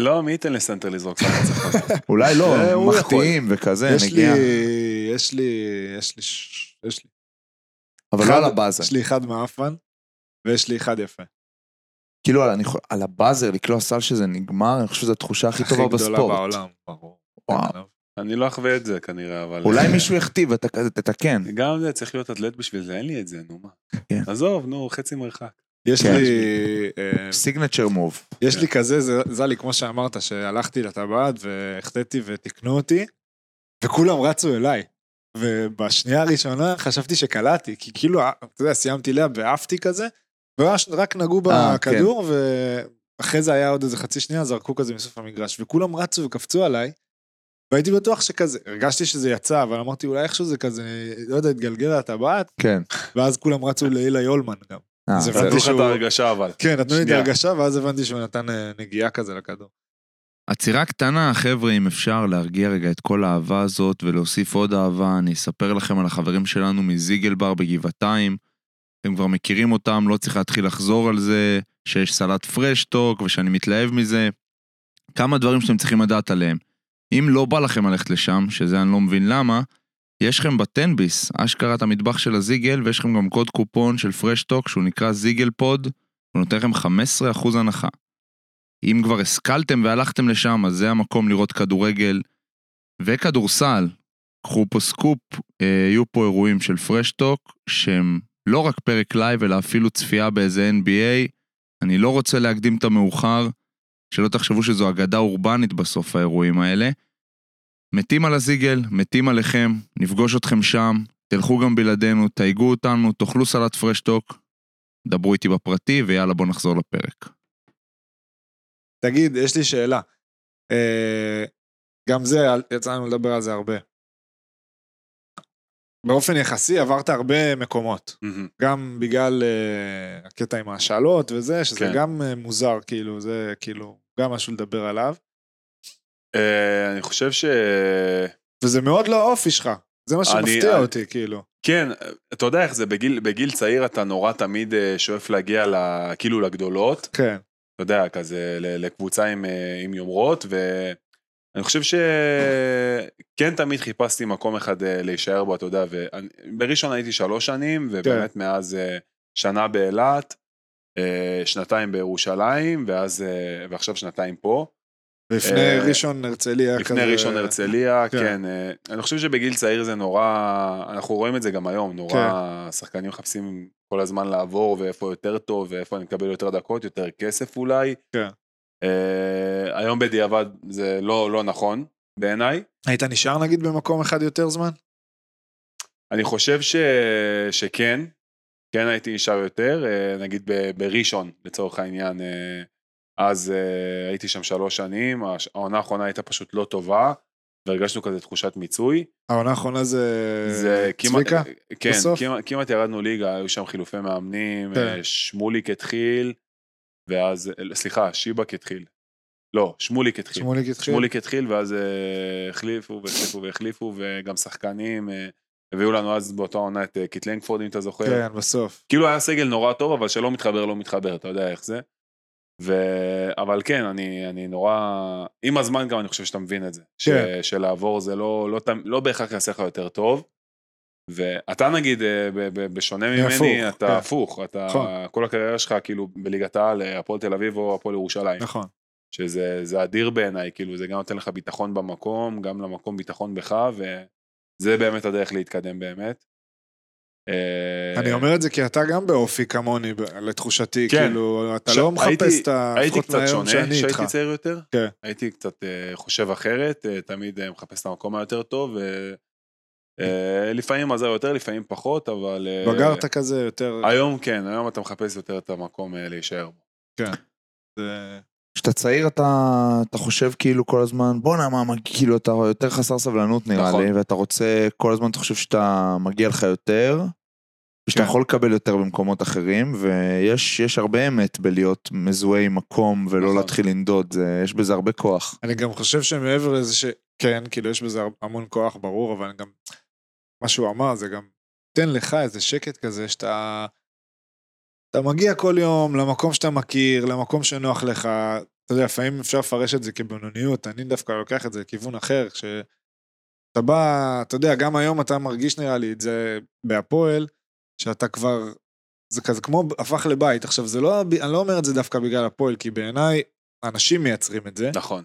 E: לא, מי ייתן לסנטר לזרוק חצי
C: אולי לא,
D: אה, הוא
C: מחטיאים וכזה,
D: יש לי,
C: נגיעה.
D: יש לי, יש לי, ש- יש לי,
C: אבל
D: אחד-
C: לא על הבאזר.
D: יש לי אחד מעפן, ויש לי אחד יפה.
C: כאילו, על- אני חו- על הבאזר לקלוע סל שזה נגמר, אני חושב שזו התחושה הכי טובה בספורט.
D: הכי גדולה בעולם, ברור. כן,
C: וואו.
E: אני לא אחווה את זה כנראה, אבל...
C: אולי
E: אה,
C: מישהו יכתיב, ות- תתקן.
D: כן.
E: גם זה, צריך להיות אתלט בשביל זה, אין לי את זה, נו מה.
C: כן.
E: עזוב, נו, חצי מרחק.
D: יש
C: כן.
D: לי... אה,
C: סיגנצ'ר מוב.
D: יש לי כזה, זה- זלי, כמו שאמרת, שהלכתי לטבעת והחטאתי ותיקנו אותי, וכולם רצו אליי. ובשנייה הראשונה חשבתי שקלעתי, כי כאילו, אה, אתה יודע, סיימתי לאה ועפתי כזה, ורק רק נגעו
C: אה,
D: בכדור, ואחרי זה היה עוד איזה חצי שנייה, זרקו כזה מסוף המגרש, וכולם רצו וקפצו עליי, והייתי בטוח שכזה, הרגשתי שזה יצא, אבל אמרתי, אולי איכשהו זה כזה, לא יודע, התגלגל לטבעת,
C: כן.
D: ואז כולם רצו לאילי הולמן גם.
C: אה,
D: זה
C: בסדר.
E: נתנו לך את
D: שהוא-
E: ההרגשה, אבל.
D: כן, נתנו לי את
E: שנייה.
D: ההרגשה, ואז הבנתי שהוא נתן אה, נגיעה כזה לכדור.
B: עצירה קטנה, חבר'ה, אם אפשר להרגיע רגע את כל האהבה הזאת ולהוסיף עוד אהבה, אני אספר לכם על החברים שלנו מזיגלבר בגבעתיים. אתם כבר מכירים אותם, לא צריך להתחיל לחזור על זה, שיש סלט פרשטוק ושאני מתלהב מזה. כמה דברים שאתם צריכים לדעת עליהם. אם לא בא לכם ללכת לשם, שזה אני לא מבין למה, יש לכם בטנביס, אשכרה את המטבח של הזיגל, ויש לכם גם קוד קופון של פרשטוק שהוא נקרא זיגל פוד, הוא נותן לכם 15% הנחה. אם כבר השכלתם והלכתם לשם, אז זה המקום לראות כדורגל וכדורסל. קחו פה סקופ, אה, יהיו פה אירועים של פרשטוק, שהם לא רק פרק לייב, אלא אפילו צפייה באיזה NBA. אני לא רוצה להקדים את המאוחר, שלא תחשבו שזו אגדה אורבנית בסוף האירועים האלה. מתים על הזיגל, מתים עליכם, נפגוש אתכם שם, תלכו גם בלעדינו, תייגו אותנו, תאכלו סלט פרשטוק, דברו איתי בפרטי, ויאללה בואו נחזור לפרק.
D: תגיד, יש לי שאלה. אה, גם זה, יצא לנו לדבר על זה הרבה. באופן יחסי עברת הרבה מקומות,
E: מהמם.
D: גם בגלל אה, הקטע עם השאלות וזה, שזה
E: כן.
D: גם אה, מוזר, כאילו, זה כאילו גם משהו לדבר עליו,
E: אה, אני חושב ש...
D: וזה מאוד לא האופי שלך, זה מה
E: אני- אה,
D: שמפתיע
E: אני-
D: אותי, כאילו.
E: כן, אתה יודע איך זה, בגיל, בגיל צעיר אתה נורא תמיד אה, שואף להגיע ל, כאילו לגדולות,
D: כן,
E: אתה יודע, כזה ל- לקבוצה עם, אה, עם יומרות, ואני חושב שכן תמיד חיפשתי מקום אחד אה, להישאר בו, אתה יודע, ואני- בראשון הייתי שלוש שנים, ובאמת מאז אה, שנה באילת, אה, שנתיים בירושלים, ואז, אה, ועכשיו שנתיים פה.
D: לפני
E: אה,
D: ראשון הרצליה כזה.
E: לפני ראשון הרצליה,
D: כן.
E: כן. אה, אני חושב שבגיל צעיר זה נורא, אנחנו רואים את זה גם היום,
D: כן.
E: נורא שחקנים מחפשים כל הזמן לעבור, ואיפה יותר טוב, ואיפה אני מקבל יותר דקות, יותר כסף אולי.
D: כן.
E: אה, היום בדיעבד זה לא, לא נכון בעיניי.
D: היית נשאר נגיד במקום אחד יותר זמן?
E: אני חושב ש... שכן, כן הייתי נשאר יותר, אה, נגיד ב... בראשון לצורך העניין, אה, אז אה, הייתי שם שלוש שנים, הש- העונה האחרונה הייתה פשוט לא טובה, והרגשנו כזה תחושת מיצוי.
D: העונה האחרונה זה...
E: זה כמעט,
D: צביקה?
E: כן,
D: בסוף?
E: כמעט, כמעט ירדנו ליגה, היו שם חילופי מאמנים,
D: כן.
E: אה, שמוליק התחיל, ואז, אה, סליחה, שיבק התחיל. לא, שמוליק התחיל.
D: שמוליק התחיל?
E: שמוליק התחיל, ואז אה, החליפו והחליפו והחליפו, וגם שחקנים, אה, הביאו לנו אז באותה עונה את אה, קיט לנגפורד, אם אתה זוכר.
D: כן, בסוף.
E: כאילו היה סגל נורא טוב, אבל שלא מתחבר, לא מתחבר, אתה יודע איך זה. ו... אבל כן, אני, אני נורא... עם הזמן גם אני חושב שאתה מבין את זה.
D: כן.
E: ש... שלעבור זה לא, לא, לא, לא בהכרח יעשה לך יותר טוב. ואתה נגיד, אה, ב, ב, בשונה ממני,
D: הפוך,
E: אתה
D: כן.
E: הפוך. אתה,
D: נכון.
E: כל הקריירה שלך כאילו בליגת העל, אה, הפועל תל אביב או הפועל ירושלים.
D: נכון.
E: שזה זה אדיר בעיניי, כאילו זה גם נותן לך ביטחון במקום, גם למקום ביטחון בך, וזה באמת הדרך להתקדם באמת. אה,
D: אני אומר את זה כי אתה גם באופי כמוני, ב- לתחושתי,
E: כן.
D: כאילו, אתה
E: ש-
D: לא מחפש
E: הייתי-
D: את ה...
E: הייתי
D: לפחות
E: קצת
D: מהיום
E: שונה,
D: שאני
E: כשהייתי
D: איתך.
E: צעיר יותר,
D: כן.
E: הייתי קצת אה, חושב אחרת, אה, תמיד אה, מחפש את המקום היותר טוב, ו- אה, לפעמים עזר יותר, לפעמים פחות, אבל... אה,
D: בגרת כזה יותר...
E: היום כן, היום אתה מחפש יותר את המקום אה, להישאר בו.
D: זה-
C: כשאתה צעיר אתה, אתה חושב כאילו כל הזמן, בואנה מה, מה, כאילו אתה יותר חסר סבלנות נראה
E: נכון.
C: לי, ואתה רוצה, כל הזמן אתה חושב שאתה מגיע לך יותר, ושאתה
D: כן.
C: יכול לקבל יותר במקומות אחרים, ויש יש הרבה אמת בלהיות מזוהה עם מקום ולא
E: נכון.
C: להתחיל לנדוד, זה, יש בזה הרבה כוח.
D: אני גם חושב שמעבר לזה ש... כן, כאילו, יש בזה הר- המון כוח, ברור, אבל גם... מה שהוא אמר, זה גם... תן לך איזה שקט כזה שאתה... אתה מגיע כל יום למקום שאתה מכיר, למקום שנוח לך. אתה יודע, לפעמים אפשר לפרש את זה כבינוניות, אני דווקא לוקח את זה לכיוון אחר, כשאתה בא, אתה יודע, גם היום אתה מרגיש נראה לי את זה בהפועל, שאתה כבר זה כזה כמו הפך לבית. עכשיו, זה לא, אני לא אומר את זה דווקא בגלל הפועל, כי בעיניי, אנשים מייצרים את זה.
E: נכון.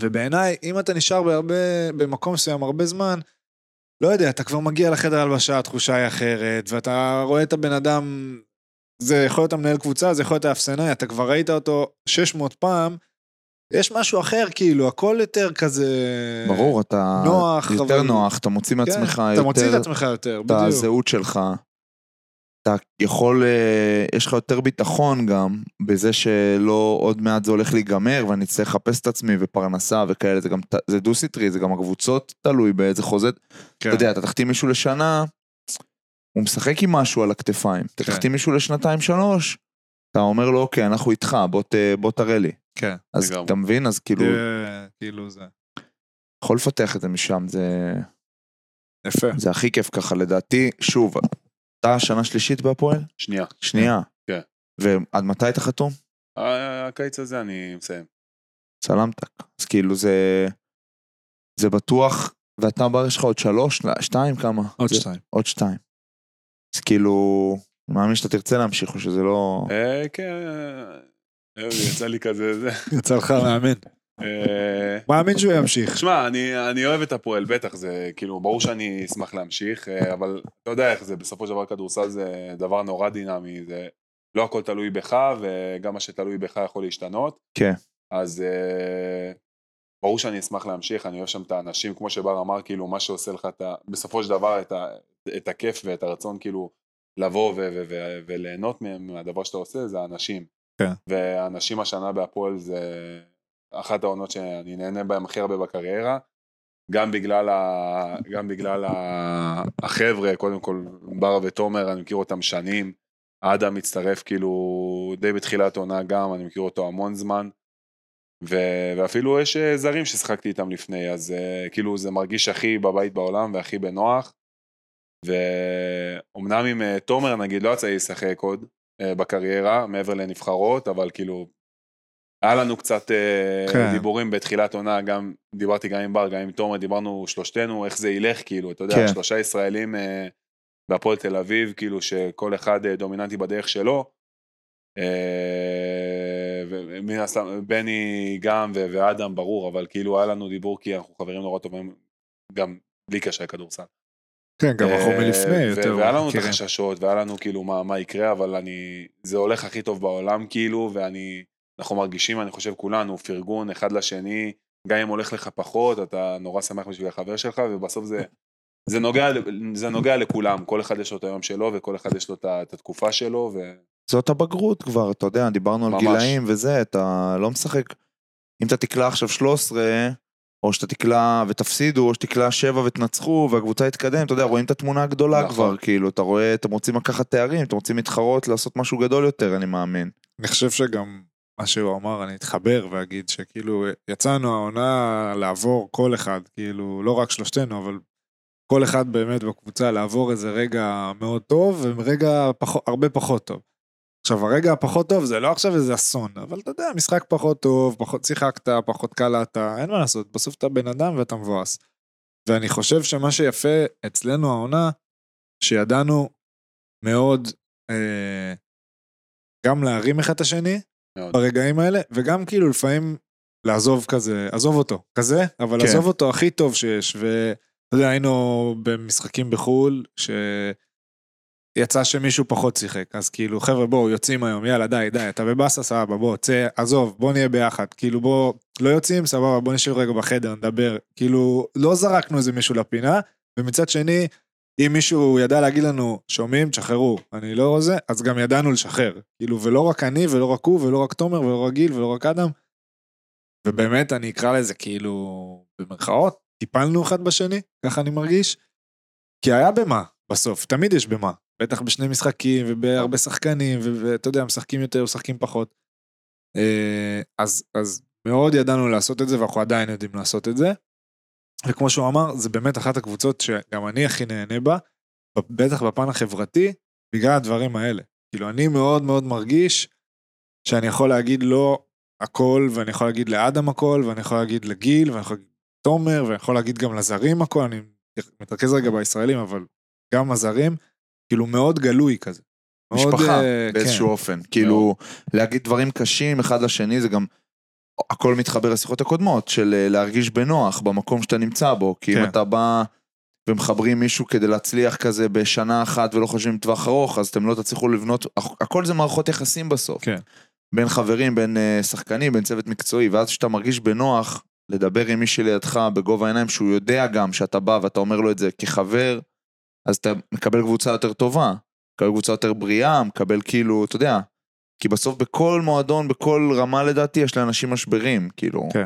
D: ובעיניי, אם אתה נשאר בהרבה, במקום מסוים הרבה זמן, לא יודע, אתה כבר מגיע לחדר הלבשה, התחושה היא אחרת, ואתה רואה את הבן אדם, זה יכול להיות המנהל קבוצה, זה יכול להיות האפסנאי, אתה כבר ראית אותו 600 פעם, יש משהו אחר, כאילו, הכל יותר כזה...
C: ברור, אתה
D: אה, נוח,
C: יותר
D: אבל-
C: נוח, אתה מוציא
D: כן,
C: מעצמך
D: אתה מוציא את
C: יותר
D: עצמך יותר,
C: את
D: בדיוק.
C: הזהות שלך. אתה יכול, אה, יש לך יותר ביטחון גם בזה שלא עוד מעט זה הולך להיגמר ואני אצטרך לחפש את עצמי ופרנסה וכאלה, זה גם, ת- זה דו סטרי, זה גם הקבוצות תלוי באיזה חוזה,
D: כן.
C: אתה יודע, אתה תחתים מישהו לשנה, הוא משחק עם משהו על הכתפיים, אתה
D: כן.
C: תחתים מישהו לשנתיים שלוש, אתה אומר לו אוקיי, אנחנו איתך, בוא ת- בוא תראה לי.
D: כן.
C: אז
E: לגמרי.
C: אתה מבין, אז כאילו,
D: תראה, כאילו זה.
C: יכול לפתח את זה משם, זה...
D: יפה.
C: זה הכי כיף ככה, לדעתי, שוב, אתה שנה שלישית בהפועל?
E: שנייה.
C: שנייה.
E: כן.
C: ועד מתי אתה חתום?
E: ה- הקיץ הזה אני מסיים.
C: סלמתק. אז כאילו זה... זה בטוח, ואתה בר יש לך עוד שלוש, לא, שתיים כמה?
D: עוד
C: זה-
D: שתיים.
C: עוד שתיים. אז כאילו, אני מאמין שאתה תרצה להמשיך, או שזה לא...
E: אה, כן, אה, יצא לי כזה, זה.
D: יצא לך מאמין.
E: אה,
D: מאמין שהוא ימשיך.
E: תשמע, אני, אני אוהב את הפועל, בטח, זה כאילו, ברור שאני אשמח להמשיך, אה, אבל אתה יודע איך זה, בסופו של דבר כדורסל זה דבר נורא דינמי, זה לא הכל תלוי בך, וגם מה שתלוי בך יכול להשתנות.
C: כן.
E: אז אה, ברור שאני אשמח להמשיך, אני אוהב שם את האנשים, כמו שבר אמר, כאילו, מה שעושה לך, את ה, בסופו של דבר, את, ה, את הכיף ואת הרצון, כאילו, לבוא ו- ו- ו- וליהנות מהם, מהדבר שאתה עושה, זה האנשים.
D: כן.
E: והאנשים השנה בהפועל זה... אחת העונות שאני נהנה בהן הכי הרבה בקריירה, גם בגלל, ה... גם בגלל ה... החבר'ה, קודם כל בר ותומר, אני מכיר אותם שנים, אדם מצטרף כאילו די בתחילת עונה גם, אני מכיר אותו המון זמן, ו... ואפילו יש אה, זרים ששיחקתי איתם לפני, אז אה, כאילו זה מרגיש הכי בבית בעולם והכי בנוח, ואומנם עם אה, תומר נגיד לא יצא לי לשחק עוד אה, בקריירה, מעבר לנבחרות, אבל כאילו... היה לנו קצת
D: כן.
E: כן. דיבורים בתחילת עונה, גם דיברתי גם עם בר, גם עם תומר, דיברנו שלושתנו, איך זה ילך, כאילו, אתה יודע,
C: כן.
E: כן. שלושה ישראלים אה, בהפועל תל אביב, כאילו, שכל אחד אה, דומיננטי בדרך שלו. אה, ומן הסתם, בני גם ו- ואדם, ברור, אבל כאילו, היה לנו דיבור, כי אנחנו חברים נורא טובים, גם בלי קשר לכדורסל.
D: כן, גם אנחנו
E: אה,
D: מלפני
E: ו-
D: יותר.
E: והיה לנו את
D: מכירים.
E: החששות, והיה לנו כאילו מה, מה יקרה, אבל אני... זה הולך הכי טוב בעולם, כאילו, ואני... אנחנו מרגישים, אני חושב, כולנו, פרגון אחד לשני, גם אם הולך לך פחות, אתה נורא שמח בשביל החבר שלך, ובסוף זה... זה נוגע, זה נוגע לכולם, כל אחד יש לו את היום שלו, וכל אחד יש לו את ה- את התקופה שלו, ו...
C: זאת הבגרות כבר, אתה יודע, דיברנו על
E: ממש.
C: גילאים וזה, אתה לא משחק. אם אתה תקלע עכשיו 13, או שאתה תקלע ותפסידו, או שתקלע 7 ותנצחו, והקבוצה תתקדם, אתה יודע, רואים את התמונה הגדולה
E: נכון.
C: כבר, כאילו, אתה רואה, אתם רוצים לקחת תארים, אתם רוצים להתחרות, לעשות משהו גדול יותר, אני מאמין.
D: אני חושב שגם מה שהוא אמר, אני אתחבר ואגיד שכאילו, יצאנו העונה לעבור כל אחד, כאילו, לא רק שלושתנו, אבל כל אחד באמת בקבוצה לעבור איזה רגע מאוד טוב, ורגע פח, הרבה פחות טוב. עכשיו, הרגע הפחות טוב זה לא עכשיו איזה אסון, אבל אתה יודע, משחק פחות טוב, פחות שיחקת, פחות קלעת, אין מה לעשות, בסוף אתה בן אדם ואתה מבואס. ואני חושב שמה שיפה אצלנו העונה, שידענו מאוד אה, גם להרים אחד את השני
E: מאוד.
D: ברגעים האלה, וגם כאילו לפעמים לעזוב כזה, עזוב אותו, כזה, אבל
C: כן.
D: כן. עזוב אותו הכי טוב שיש, ואתה יודע, היינו במשחקים בחו"ל, ש... יצא שמישהו פחות שיחק, אז כאילו, חבר'ה, בואו, יוצאים היום, יאללה, די, די, אתה בבאסה, סבבה, בוא, צא, עזוב, בוא נהיה ביחד. כאילו, בוא, לא יוצאים, סבבה, בוא נשב רגע בחדר, נדבר. כאילו, לא זרקנו איזה מישהו לפינה, ומצד שני, אם מישהו ידע להגיד לנו, שומעים, תשחררו, אני לא זה, אז גם ידענו לשחרר. כאילו, ולא רק אני, ולא רק הוא, ולא רק תומר, ולא רק גיל, ולא רק אדם. ובאמת, אני אקרא לזה כאילו, במרכאות, טיפלנו אחד בשני, ככה אני מרגיש. כי היה במה, בסוף, תמיד יש במה. בטח בשני משחקים, ובהרבה שחקנים, ו- ואתה יודע, משחקים יותר, משחקים פחות. אה, אז, אז מאוד ידענו לעשות את זה, ואנחנו עדיין יודעים לעשות את זה. וכמו שהוא אמר, זה באמת אחת הקבוצות שגם אני הכי נהנה בה, בטח בפן החברתי, בגלל הדברים האלה. כאילו, אני מאוד מאוד מרגיש שאני יכול להגיד לו הכל, ואני יכול להגיד לאדם הכל, ואני יכול להגיד לגיל, ואני יכול להגיד לתומר, ואני יכול להגיד גם לזרים הכל, אני מתרכז רגע בישראלים, אבל גם הזרים, כאילו מאוד גלוי כזה. מאוד,
C: משפחה
D: אה,
C: באיזשהו אופן. כאילו, להגיד דברים קשים אחד לשני זה גם... הכל מתחבר לשיחות הקודמות, של אה, להרגיש בנוח במקום שאתה נמצא בו. כי אם
D: כן.
C: אתה בא ומחברים מישהו כדי להצליח כזה בשנה אחת ולא חושבים טווח ארוך, אז אתם לא תצליחו לבנות... הכ- הכל זה מערכות יחסים בסוף.
D: כן.
C: בין חברים, בין אה, שחקנים, בין צוות מקצועי, ואז כשאתה מרגיש בנוח לדבר עם מי שלידך בגובה העיניים, שהוא יודע גם שאתה בא ואתה אומר לו את זה כחבר, אז אתה מקבל קבוצה יותר טובה, מקבל קבוצה יותר בריאה, מקבל כאילו, אתה יודע, כי בסוף בכל מועדון, בכל רמה לדעתי, יש לאנשים משברים, כאילו.
D: כן.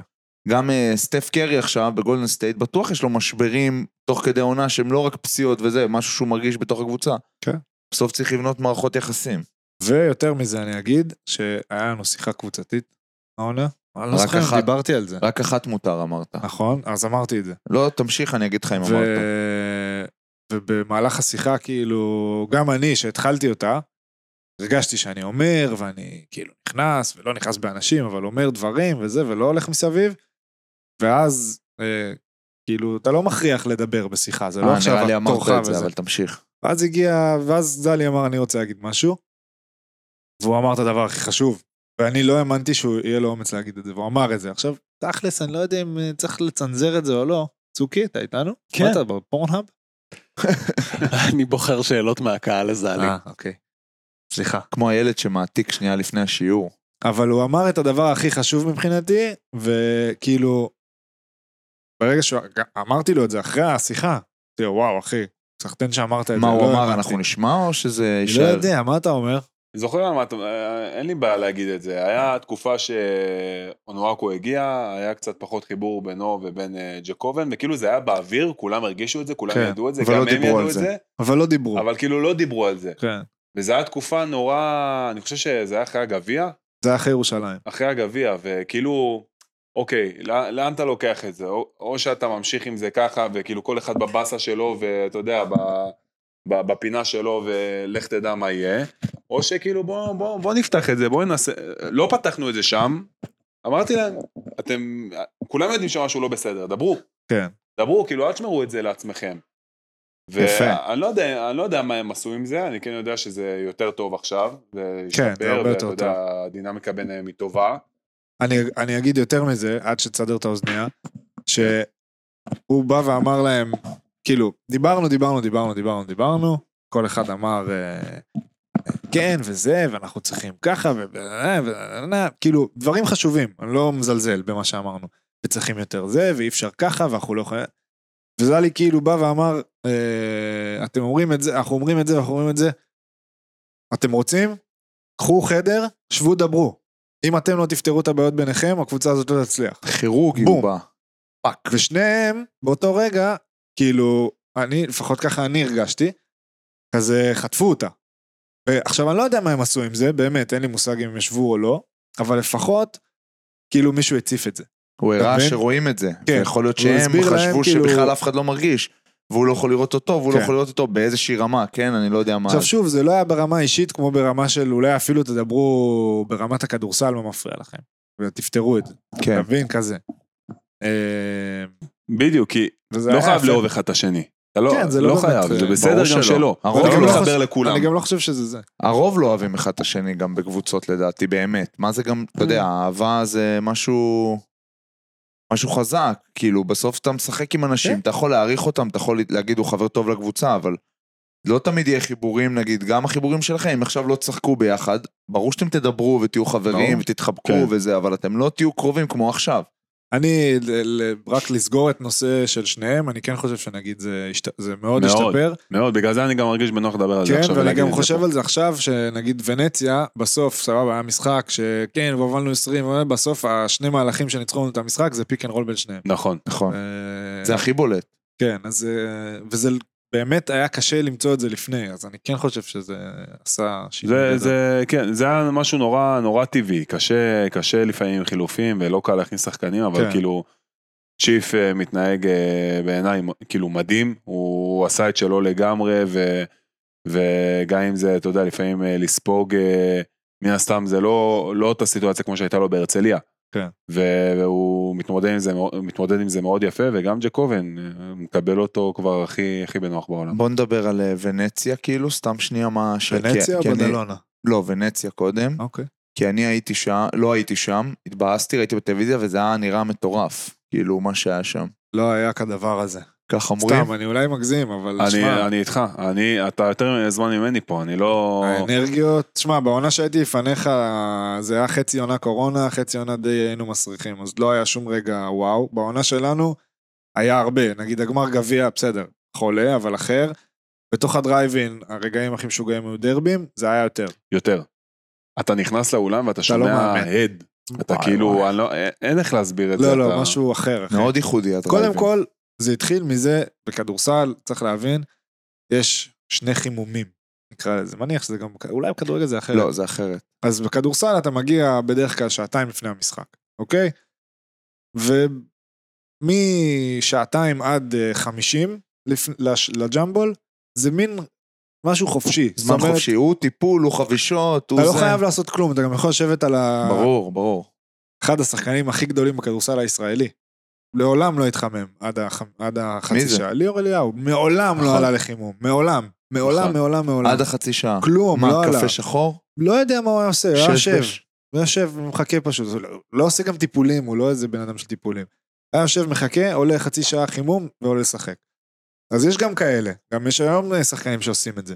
C: גם אה, סטף קרי עכשיו, בגולדן סטייט, בטוח יש לו משברים תוך כדי עונה שהם לא רק פציעות וזה, משהו שהוא מרגיש בתוך הקבוצה.
D: כן.
C: בסוף צריך לבנות מערכות יחסים.
D: ויותר מזה אני אגיד, שהיה לנו שיחה קבוצתית, העונה. אני לא
C: רק
D: זוכר אם
C: אחת.
D: דיברתי על זה.
C: רק אחת מותר אמרת.
D: נכון, אז אמרתי את זה.
C: לא, תמשיך, אני אגיד לך אם
D: ו...
C: אמרת.
D: ובמהלך השיחה, כאילו, גם אני, שהתחלתי אותה, הרגשתי שאני אומר, ואני כאילו נכנס, ולא נכנס באנשים, אבל אומר דברים וזה, ולא הולך מסביב, ואז, אה, כאילו, אתה לא מכריח לדבר בשיחה, זה לא
C: אה,
D: עכשיו
C: נראה לי אמרת
D: תורך
C: את
D: וזה.
C: זה, אבל תמשיך.
D: ואז הגיע, ואז זלי אמר, אני רוצה להגיד משהו. והוא אמר את הדבר הכי חשוב. ואני לא האמנתי שהוא יהיה לו אומץ להגיד את זה, והוא אמר את זה. עכשיו, תכלס, אני לא יודע אם אה, צריך לצנזר את זה או לא. צוקי, אתה איתנו?
A: כן.
D: מה אתה בפורנהאב?
A: אני בוחר שאלות מהקהל הזלי.
D: אוקיי. סליחה.
C: כמו הילד שמעתיק שנייה לפני השיעור.
D: אבל הוא אמר את הדבר הכי חשוב מבחינתי, וכאילו, ברגע שאמרתי לו את זה אחרי השיחה, אמרתי לו, וואו, אחי, סחטיין שאמרת את זה.
C: מה הוא
D: לא
C: אמר,
D: האמנתי."
C: אנחנו נשמע או שזה
D: אני לא
C: יישאר?
D: יודע, מה אתה אומר?
E: זוכר על מה אתה... אה, אין לי בעיה להגיד את זה. היה תקופה שאונואקו הגיע, היה קצת פחות חיבור בינו ובין אה, ג'קובן, וכאילו זה היה באוויר, כולם הרגישו את זה, כולם
D: כן,
E: ידעו את זה,
C: אבל
E: גם
C: לא
E: הם
C: דיברו על
E: ידעו את
C: זה.
E: זה,
D: אבל לא דיברו.
E: אבל כאילו לא דיברו על זה.
D: כן.
E: וזו הייתה תקופה נורא... אני חושב שזה היה אחרי הגביע,
D: זה היה אחרי ירושלים.
E: אחרי הגביע, וכאילו, אוקיי, לאן, לאן אתה לוקח את זה? או, או שאתה ממשיך עם זה ככה, וכאילו כל אחד בבאסה שלו, ואתה יודע, ב, ב, בפינה שלו, ולך תדע מה יהיה, או שכאילו בוא, בוא, בוא נפתח את זה, בוא ננסה, לא פתחנו את זה שם, אמרתי להם, אתם, כולם יודעים שמשהו לא בסדר, דברו.
D: כן.
E: דברו, כאילו אל תשמרו את זה לעצמכם.
D: יפה.
E: ואני לא, יודע- אני לא יודע מה הם עשו עם זה, אני כן יודע שזה יותר טוב עכשיו. זה
D: כן, זה
E: השתפר,
D: הרבה יותר
E: ואתה יודע, הדינמיקה ביניהם היא טובה.
D: אני, אני אגיד יותר מזה, עד שתסדר את האוזנייה, שהוא בא ואמר להם, כאילו, דיברנו, דיברנו, דיברנו, דיברנו, דיברנו, כל אחד אמר, אה, כן, וזה, ואנחנו צריכים ככה, ו... ו- ו- ו- כאילו, דברים חשובים, אני לא מזלזל במה שאמרנו, וצריכים יותר זה, ואי אפשר ככה, ואנחנו לא יכולים... וזלי כאילו בא ואמר, אה, אתם אומרים את זה, אנחנו אומרים את זה, ואנחנו אומרים את זה, אתם רוצים? קחו חדר, שבו דברו. אם אתם לא תפתרו את הבעיות ביניכם, הקבוצה הזאת לא תצליח.
C: כירורגי
D: בום.
C: הוא בא.
D: פאק. ושניהם, באותו רגע, כאילו, אני, לפחות ככה אני הרגשתי, כזה חטפו אותה. עכשיו, אני לא יודע מה הם עשו עם זה, באמת, אין לי מושג אם הם ישבו או לא, אבל לפחות, כאילו מישהו הציף את זה.
C: הוא
D: אתה
C: הראה
D: מבין?
C: שרואים את זה.
D: כן.
C: יכול להיות
D: הוא
C: שהם
D: הסביר להם,
C: חשבו
D: כאילו-
C: שבכלל אף אחד לא מרגיש, והוא לא יכול לראות אותו, והוא לא
D: כן.
C: יכול לראות אותו באיזושהי רמה, כן? אני לא יודע מה...
D: עכשיו שוב, זה לא היה ברמה אישית כמו ברמה של אולי אפילו תדברו ברמת הכדורסל, מה מפריע לכם. ותפתרו את זה,
C: כן.
D: אתה מבין? כזה. אה,
E: בדיוק, כי
D: וזה
E: לא
D: היה
E: חייב
D: יפה.
E: לאהוב אחד את השני. אתה לא,
D: כן, זה
E: לא,
D: לא באמת,
E: חייב, זה
D: אה,
E: בסדר
C: ברור שלא.
E: גם שלא.
C: הרוב
E: אתה
D: לא
E: גם
D: חושב-
E: מתחבר לכולם.
D: אני גם לא חושב שזה זה.
C: הרוב לא אוהבים אחד את השני גם בקבוצות לדעתי, באמת. מה זה גם, אתה
D: Mm.
C: יודע, אהבה זה משהו... משהו חזק, כאילו, בסוף אתה משחק עם אנשים,
D: כן.
C: אתה יכול להעריך אותם, אתה יכול להגיד, הוא חבר טוב לקבוצה, אבל לא תמיד יהיה חיבורים, נגיד, גם החיבורים שלכם, אם עכשיו לא תשחקו ביחד, ברור שאתם תדברו ותהיו חברים
E: ברור.
C: ותתחבקו
E: כן.
C: וזה, אבל אתם לא תהיו קרובים כמו עכשיו.
D: אני, ל- ל- רק לסגור את נושא של שניהם, אני כן חושב שנגיד זה, השת- זה מאוד,
E: מאוד.
D: השתפר.
E: מאוד, בגלל זה אני גם מרגיש בנוח לדבר על זה
D: כן,
E: עכשיו.
D: ואני
E: ולהגיד
D: גם
E: את זה
D: חושב
E: פה.
D: על זה עכשיו, שנגיד ונציה, בסוף, סבבה, היה משחק שכן, והובלנו 20, אבל בסוף השני מהלכים שניצחו לנו את המשחק זה פיק אנד רול בין שניהם.
E: נכון.
C: נכון.
D: אה,
C: זה הכי בולט.
D: כן, אז... אה, וזה באמת היה קשה למצוא את זה לפני, אז אני כן חושב שזה עשה שינוי.
E: זה,
D: גדול.
E: זה, כן, זה היה משהו נורא, נורא טבעי. קשה, קשה לפעמים עם חילופים, ולא קל להכניס שחקנים, אבל
D: כן.
E: כאילו, צ'יף אה, מתנהג אה, בעיניי כאילו מדהים, הוא עשה את שלו לגמרי, ו, וגם אם זה, אתה יודע, לפעמים אה, לספוג, אה, מן הסתם זה לא, לא אותה סיטואציה כמו שהייתה לו בהרצליה.
D: כן.
E: והוא מתמודד עם זה, מאוד- מתמודד עם זה מאוד יפה, וגם ג'קובן אה, מקבל אותו כבר הכי, הכי בנוח בעולם.
C: בוא נדבר על אה, ונציה כאילו, סתם שנייה מה... ש-
D: ונציה
E: כן,
D: או
C: כי- כי אני-
D: בדלונה?
C: לא, ונציה קודם.
D: אוקיי.
C: כי אני הייתי שם, לא הייתי שם, התבאסתי, ראיתי בטלוויזיה, וזה היה נראה מטורף, כאילו, מה שהיה שם.
D: לא היה כדבר הזה.
C: כך אומרים.
D: סתם, אני אולי מגזים, אבל
E: אני,
D: שמע,
E: אני איתך, אני, אתה יותר זמן ממני פה, אני לא...
D: האנרגיות, שמע, בעונה שהייתי לפניך, זה היה חצי עונה קורונה, חצי עונה די היינו מסריחים, אז לא היה שום רגע וואו. בעונה שלנו היה הרבה, נגיד הגמר גביע, בסדר, חולה, אבל אחר. בתוך הדרייבין, הרגעים הכי משוגעים היו דרבים, זה היה יותר.
E: יותר. אתה נכנס לאולם ואתה
D: לא
E: שומע
D: מאמין.
E: הד. אתה
C: וואי,
E: כאילו,
C: וואי.
E: אני לא- אין- אין איך להסביר את זה.
D: לא,
E: אתה-
D: לא, משהו אחר. אחי.
C: מאוד ייחודי הדרייבין.
D: קודם כל, זה התחיל מזה, בכדורסל, צריך להבין, יש שני חימומים, נקרא לזה. מניח שזה גם, אולי בכדורגל זה אחרת.
C: לא, זה אחרת.
D: אז בכדורסל אתה מגיע בדרך כלל שעתיים לפני המשחק, אוקיי? ומשעתיים עד אה, 50 לפ... לש... לג'מבול, זה מין משהו חופשי. זאת
C: זמן
D: אומרת,
C: חופשי, הוא טיפול, הוא חבישות, הוא
D: אתה
C: זה.
D: לא חייב לעשות כלום, אתה גם יכול לשבת על ה...
C: ברור, ברור.
D: אחד השחקנים הכי גדולים בכדורסל הישראלי. לעולם לא התחמם עד, הח... עד
C: מי
D: החצי
C: זה?
D: שעה. ליאור אליהו, מעולם לא
C: נכון.
D: עלה לחימום. מעולם. מעולם,
E: נכון.
D: מעולם, מעולם.
C: עד החצי שעה.
D: כלום,
C: מה,
D: לא עלה.
C: קפה שחור?
D: לא יודע מה הוא היה עושה, הוא היה
C: שש
D: יושב.
C: בש-
D: הוא יושב ומחכה פשוט, הוא לא- לא עושה גם טיפולים, הוא לא איזה בן אדם של טיפולים. היה יושב, מחכה, עולה חצי שעה חימום ועולה לשחק. אז יש גם כאלה, גם יש היום אה, שחקנים שעושים את זה.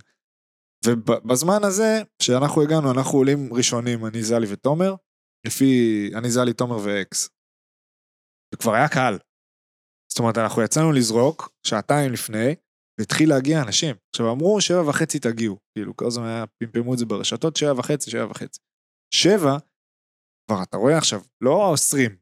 D: ובזמן הזה, שאנחנו הגענו, אנחנו עולים ראשונים, אני, זלי ותומר, לפי, אני, זלי, תומר ואקס. וכבר היה קהל. זאת אומרת, אנחנו יצאנו לזרוק, שעתיים לפני, והתחיל להגיע אנשים. עכשיו, אמרו, שבע וחצי תגיעו. כאילו, כל הזמן היה, פמפמו את זה ברשתות, שבע וחצי, שבע וחצי. שבע, כבר אתה רואה עכשיו, לא 20,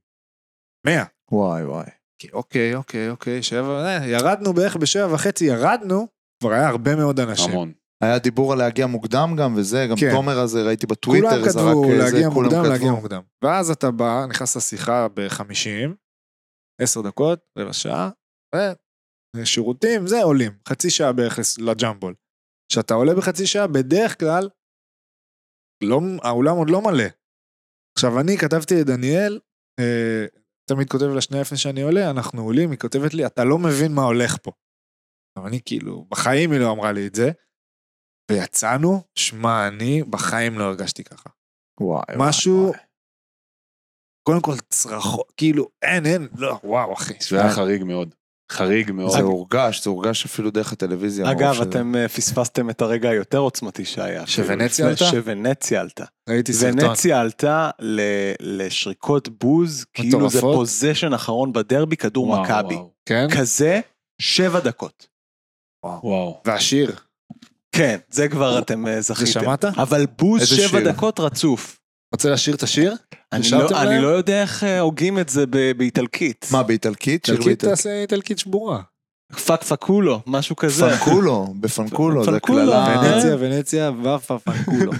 D: 100.
C: וואי וואי.
D: כי אוקיי, אוקיי, אוקיי, שבע, אה, ירדנו בערך בשבע וחצי, ירדנו, כבר היה הרבה מאוד אנשים.
E: המון.
C: היה דיבור על להגיע מוקדם גם וזה, גם
D: כן.
C: תומר הזה ראיתי בטוויטר,
D: כולם
C: זרק
D: כתבו
C: איזה-
D: להגיע
C: אה, כולם
D: מוקדם,
C: כתבו.
D: להגיע מוקדם. ואז אתה בא, נכנס לשיחה ב-50, 10 דקות, רבע שעה, ו- אה, שירותים, זה עולים. חצי שעה בערך לס- לג'מבול. כשאתה עולה בחצי שעה, בדרך כלל, לא, האולם עוד לא מלא. עכשיו, אני כתבתי לדניאל, אה, תמיד כותב לה שנייה לפני שאני עולה, אנחנו עולים, היא כותבת לי, אתה לא מבין מה הולך פה. עכשיו, אני כאילו, בחיים היא לא אמרה לי את זה. ויצאנו, שמע, אני בחיים לא הרגשתי ככה.
C: וואי, וואי,
D: משהו,
C: וואי.
D: אה, קודם כל צרחות, כאילו, אין, אין, לא, וואו, אחי.
E: זה היה חריג מאוד. חריג מאוד.
C: זה הורגש, זה הורגש אפילו דרך הטלוויזיה. מרוב
A: אגב,
C: אוקיי, שזה.
A: אתם אה, פספסתם את הרגע היותר עוצמתי שהיה.
D: שוונציה עלתה?
A: לפני- שוונציה עלתה.
D: ראיתי סרטון.
A: ונציה עלתה ל- לשריקות בוז, כאילו זה
D: מטורפות.
A: פוזיישן אחרון בדרבי, כדור
E: וואו,
A: מכבי.
E: וואו,
D: כן?
A: כזה, שבע דקות.
E: וואו.
D: והשיר.
A: כן, זה כבר אתם אה, זכיתם.
D: שמעת?
A: אבל בוז
C: איזה
A: שבע
C: שיר?
A: דקות רצוף.
D: רוצה לשיר את השיר?
A: אני
D: ששרתם
A: לא, אני
D: להם?
A: לא יודע איך אה, הוגים את זה ב- באיטלקית.
C: מה, באיטלקית? שיר
D: איטלקית אה.
C: באיטלקית.
D: תעשה איטלקית שבורה.
A: פאק פאקולו, משהו כזה.
C: פנקולו, בפנקולו, זה
A: פנקולו.
C: קללה.
A: ונציה,
D: ונציה, ונציה, ופא פנקולו.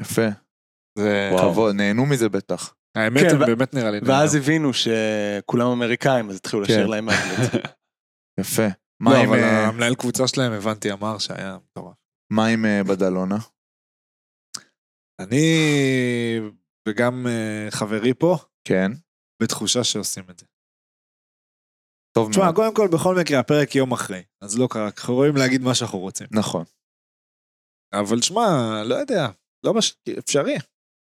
C: יפה.
D: זה...
E: וואו.
C: כבוד, נהנו מזה בטח.
D: האמת,
A: כן,
D: הם
A: ו-
D: באמת נראה לי...
A: ואז
D: נהדר.
A: הבינו שכולם אמריקאים, אז התחילו לשיר
C: כן.
A: להם באנגלית.
C: יפה. מה
D: לא,
C: עם,
D: אבל
C: אה,
D: המנהל קבוצה שלהם, הבנתי, אמר שהיה מטורף.
C: מה עם אה, בדלונה?
D: אני, וגם אה, חברי פה,
C: כן.
D: בתחושה שעושים את זה.
C: טוב
D: תשמע,
C: מאוד.
D: קודם כל, בכל מקרה, הפרק יום אחרי, אז לא קרה, אנחנו יכולים להגיד מה שאנחנו רוצים.
C: נכון.
D: אבל שמע, לא יודע, לא מש... אפשרי.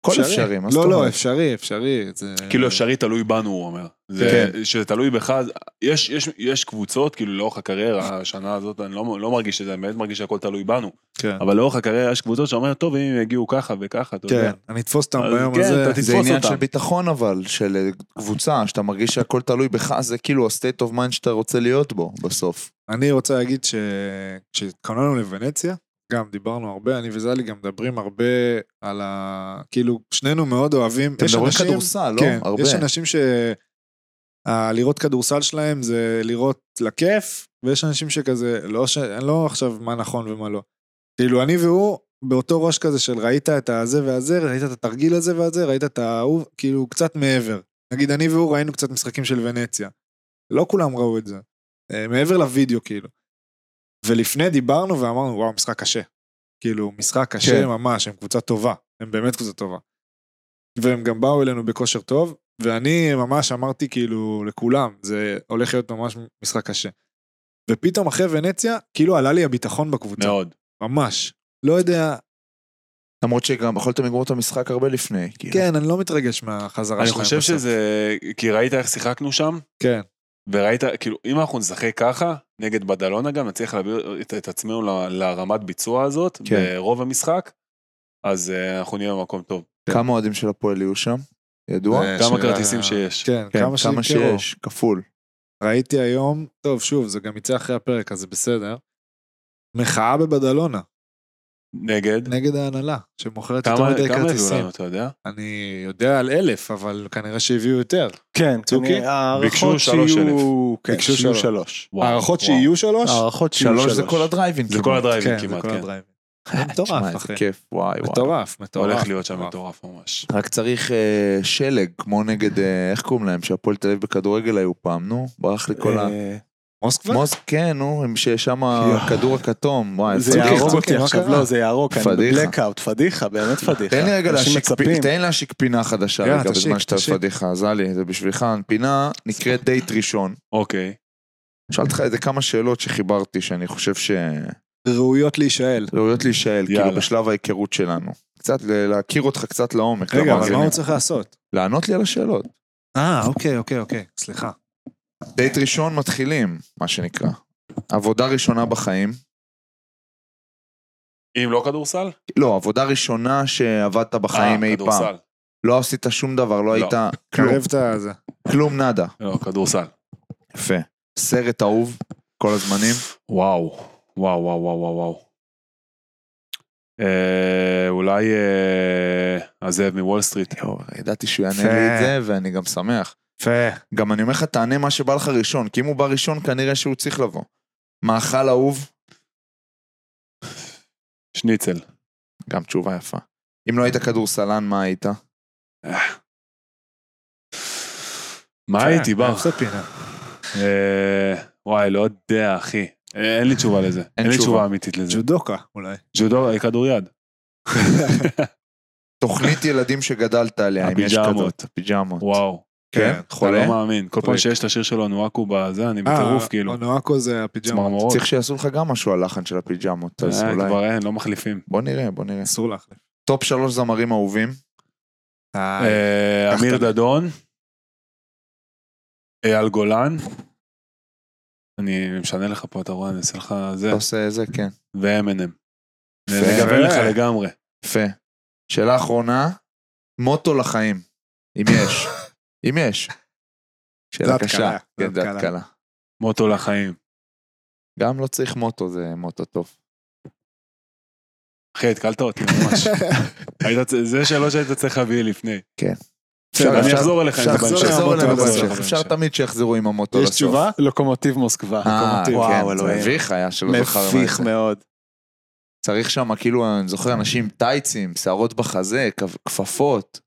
C: הכל אפשרי, מה זאת
D: לא, לא,
C: אומרת?
D: אפשרי, אפשרי. זה...
E: כאילו אפשרי תלוי בנו, הוא אומר. זה,
D: כן.
E: שזה תלוי בך, אז יש, יש, יש קבוצות, כאילו לאורך הקריירה, השנה הזאת, אני לא, לא מרגיש את זה, אני באמת מרגיש שהכל תלוי בנו.
D: כן.
E: אבל לאורך הקריירה יש קבוצות שאומרות, טוב, אם הם יגיעו ככה וככה, אתה
D: כן,
E: יודע.
D: אני אתפוס אותם
E: אז
D: ביום
E: כן,
D: הזה.
E: אתה
C: זה
E: תתפוס
C: עניין
E: אותם.
C: של ביטחון אבל, של אה, קבוצה, שאתה מרגיש שהכל תלוי בך, זה כאילו ה-state of mind שאתה רוצה להיות בו בסוף.
D: אני רוצה להגיד שכשהתכוננו לוונציה, גם דיברנו הרבה, אני וזלי גם מדברים הרבה על ה... כאילו, שנינו מאוד אוהבים.
C: אתם
D: יש
C: מדברים
D: אנשים-
C: כדורסל, לא?
D: כן,
C: הרבה.
D: יש אנשים ש... ה- לראות כדורסל שלהם זה לראות לכיף, ויש אנשים שכזה, לא, ש... אני לא עכשיו מה נכון ומה לא. כאילו, אני והוא באותו ראש כזה של ראית את הזה והזה, ראית את התרגיל הזה והזה, ראית את ההוא, כאילו, קצת מעבר. נגיד, אני והוא ראינו קצת משחקים של ונציה. לא כולם ראו את זה. אה, מעבר לוידאו, כאילו. ולפני דיברנו ואמרנו, וואו, משחק קשה. כאילו, משחק קשה
C: כן.
D: ממש, הם קבוצה טובה. הם באמת קבוצה טובה. והם גם באו אלינו בכושר טוב, ואני ממש אמרתי כאילו לכולם, זה הולך להיות ממש משחק קשה. ופתאום אחרי ונציה, כאילו עלה לי הביטחון בקבוצה.
E: מאוד.
D: ממש. לא יודע,
C: למרות שגם יכולתם לגמור את המשחק הרבה לפני. כאילו.
D: כן, אני לא מתרגש מהחזרה
E: אני
D: שלהם.
E: חושב
D: בסוף.
E: שזה... כי ראית איך שיחקנו שם?
D: כן.
E: וראית, כאילו, אם אנחנו נשחק ככה, נגד בדלונה גם, נצליח להביא את, את עצמנו ל- לרמת ביצוע הזאת,
C: כן.
E: ברוב המשחק, אז אה, אנחנו נהיה במקום טוב.
D: כן.
C: כמה אוהדים של הפועל יהיו שם? ידוע?
D: אה,
E: כמה
D: של
E: כרטיסים
D: ה-
E: שיש.
D: כן,
C: כן,
D: כמה
C: כמה
D: שימכרו.
C: שיש, כפול.
D: ראיתי היום, טוב, שוב, זה גם יצא אחרי הפרק, אז זה בסדר. מחאה בבדלונה,
E: נגד.
D: נגד ההנהלה, שמוכרת
E: כמה
D: יותר מדי
E: כמה הביאו
D: כרטיסים.
E: לנו, אתה יודע?
D: אני יודע על אלף, אבל כנראה שהביאו יותר.
A: כן,
D: צוקי?
A: כנראה, הערכות
E: ביקשו שלוש
A: שיהיו... כן,
D: ביקשו
A: שיהיו
D: שלוש.
A: שלוש.
E: וואו,
D: הערכות
E: וואו.
D: שיהיו שלוש?
A: אה, הערכות שיהיו שלוש.
C: שלוש זה כל הדרייבין.
E: זה כל הדרייבים
D: כן, זה
E: כמעט,
D: כל
E: כן.
D: הדרייבים. זה מטורף, אחי.
C: כיף, וואי וואי.
D: מטורף, מטורף.
E: הולך להיות שם מטורף ממש.
C: רק צריך אה, שלג, כמו נגד, אה, איך קוראים להם, שהפועל תל אביב בכדורגל היו פעם, נו, ברח לי כל ה...
A: אה,
D: מוסקבה?
C: מוס, כן, נו, עם ששם הכדור הכתום, וואי,
A: זה
C: פדיחה.
D: צוקי,
A: יהרוג
D: צוקי,
A: אותי
D: מה
A: עכשיו,
D: קרה?
A: לא, זה יהרוג, אני
C: פדיחה.
A: בבלקאוט, פדיחה, באמת פדיחה.
C: תן לי רגע
A: אנשים
C: להשיק, פ...
A: מצפים.
C: תן להשיק פינה חדשה
D: יאללה,
C: רגע,
D: תשיק,
C: בזמן שאתה
D: תשיק.
C: בפדיחה, זלי, זה בשבילך, פינה נקראת דייט ראשון.
E: אוקיי.
C: שאלתי לך איזה כמה שאלות שחיברתי, שאני חושב שראויות
D: ראויות להישאל.
C: להישאל, כאילו
E: יאללה.
C: בשלב ההיכרות שלנו. קצת, ל- להכיר אותך קצת לעומק.
E: לא
D: רגע, אבל מה
C: למאזינים.
D: הוא צריך לעשות?
C: לענות לי על השאלות.
D: אה, אוקיי, אוקיי, אוקיי, סליחה.
C: דייט ראשון מתחילים, מה שנקרא. עבודה ראשונה בחיים.
E: אם לא כדורסל?
C: לא, עבודה ראשונה שעבדת בחיים
E: אה,
C: אי פעם.
E: כדורסל.
C: לא עשית שום דבר, לא
E: לא.
C: היית כלום,
D: קרב את הזה.
C: כלום נאדה.
E: לא, כדורסל.
C: יפה. סרט אהוב, כל הזמנים.
E: וואו, וואו, וואו, וואו, וואו, וואו. אה, אולי אה, הזאב מוול סטריט.
C: יואו, ידעתי שהוא יענה לי את זה, ואני גם שמח.
D: יפה.
C: גם אני אומר לך, תענה מה שבא לך ראשון, כי אם הוא בא ראשון, כנראה שהוא צריך לבוא. מאכל אהוב,
E: שניצל.
C: גם תשובה יפה. אם לא היית כדורסלן, מה היית? כן,
E: מה הייתי, בר?
D: זה פינה.
E: אה, וואי, לא יודע, אחי. אה, אין לי תשובה לזה. אין לי
C: תשובה.
E: תשובה אמיתית לזה.
D: ג'ודוקה, אולי.
E: ג'ודו, אה, כדוריד.
C: תוכנית ילדים שגדלת עליה, אם יש כזאת.
E: הפיג'מות.
C: פיג'מות.
E: וואו.
C: כן,
E: אתה
C: חולה.
E: לא מאמין. כל פעם
D: פריק.
E: שיש את השיר שלו, נואקו בזה,
C: אה,
E: אני בטירוף, כאילו.
D: אה, אונואקו זה הפיג'מה.
E: צמרמורות.
C: צריך שיעשו לך גם משהו על לחן של הפיג'מות, אז
E: אה,
C: אולי...
E: כבר אין, לא מחליפים.
C: בוא נראה, בוא נראה.
D: אסור להחליף.
C: טופ שלוש זמרים אהובים.
D: אה,
E: אה,
D: לקחת
E: אמיר
D: לי.
E: דדון, אייל גולן, אני משנה לך פה, אתה רואה, אני אעשה לך זה,
C: אתה עושה זה, כן.
E: ו-M&M.
C: יפה.
E: נגוון לך לגמרי.
C: יפה. שאלה אחרונה, מוטו לחיים. אם יש. אם יש.
D: זאת
C: שאלה
D: התקלה,
C: קשה.
D: זאת
C: כן, זה
D: התקלה.
C: התקלה.
E: מוטו לחיים.
C: גם לא צריך מוטו, זה מוטו טוב.
E: אחי, התקלת אותי ממש. היית צ- זה שאלות שהיית צריך להביא לי לפני.
C: אפשר-
E: אני
C: אפשר-
E: אחזור אליך עם זה
C: אפשר
E: בהמשך.
C: לחזור אלינו
E: נחזור
C: בהמשך.
E: אליך
C: אפשר
E: בהמשך.
C: תמיד שיחזרו עם המוטו לסוף.
A: יש תשובה? לוקומוטיב מוסקבה.
C: אה,
A: לוקומוטיב. וואו,
C: כן, זה
A: אלוהים.
C: מביך היה שלא זכר מה
A: מביך
C: זה. לא
A: מאוד.
C: צריך שם, כאילו, אני זוכר אנשים עם טייצים, שערות בחזה, כפ- כפפות,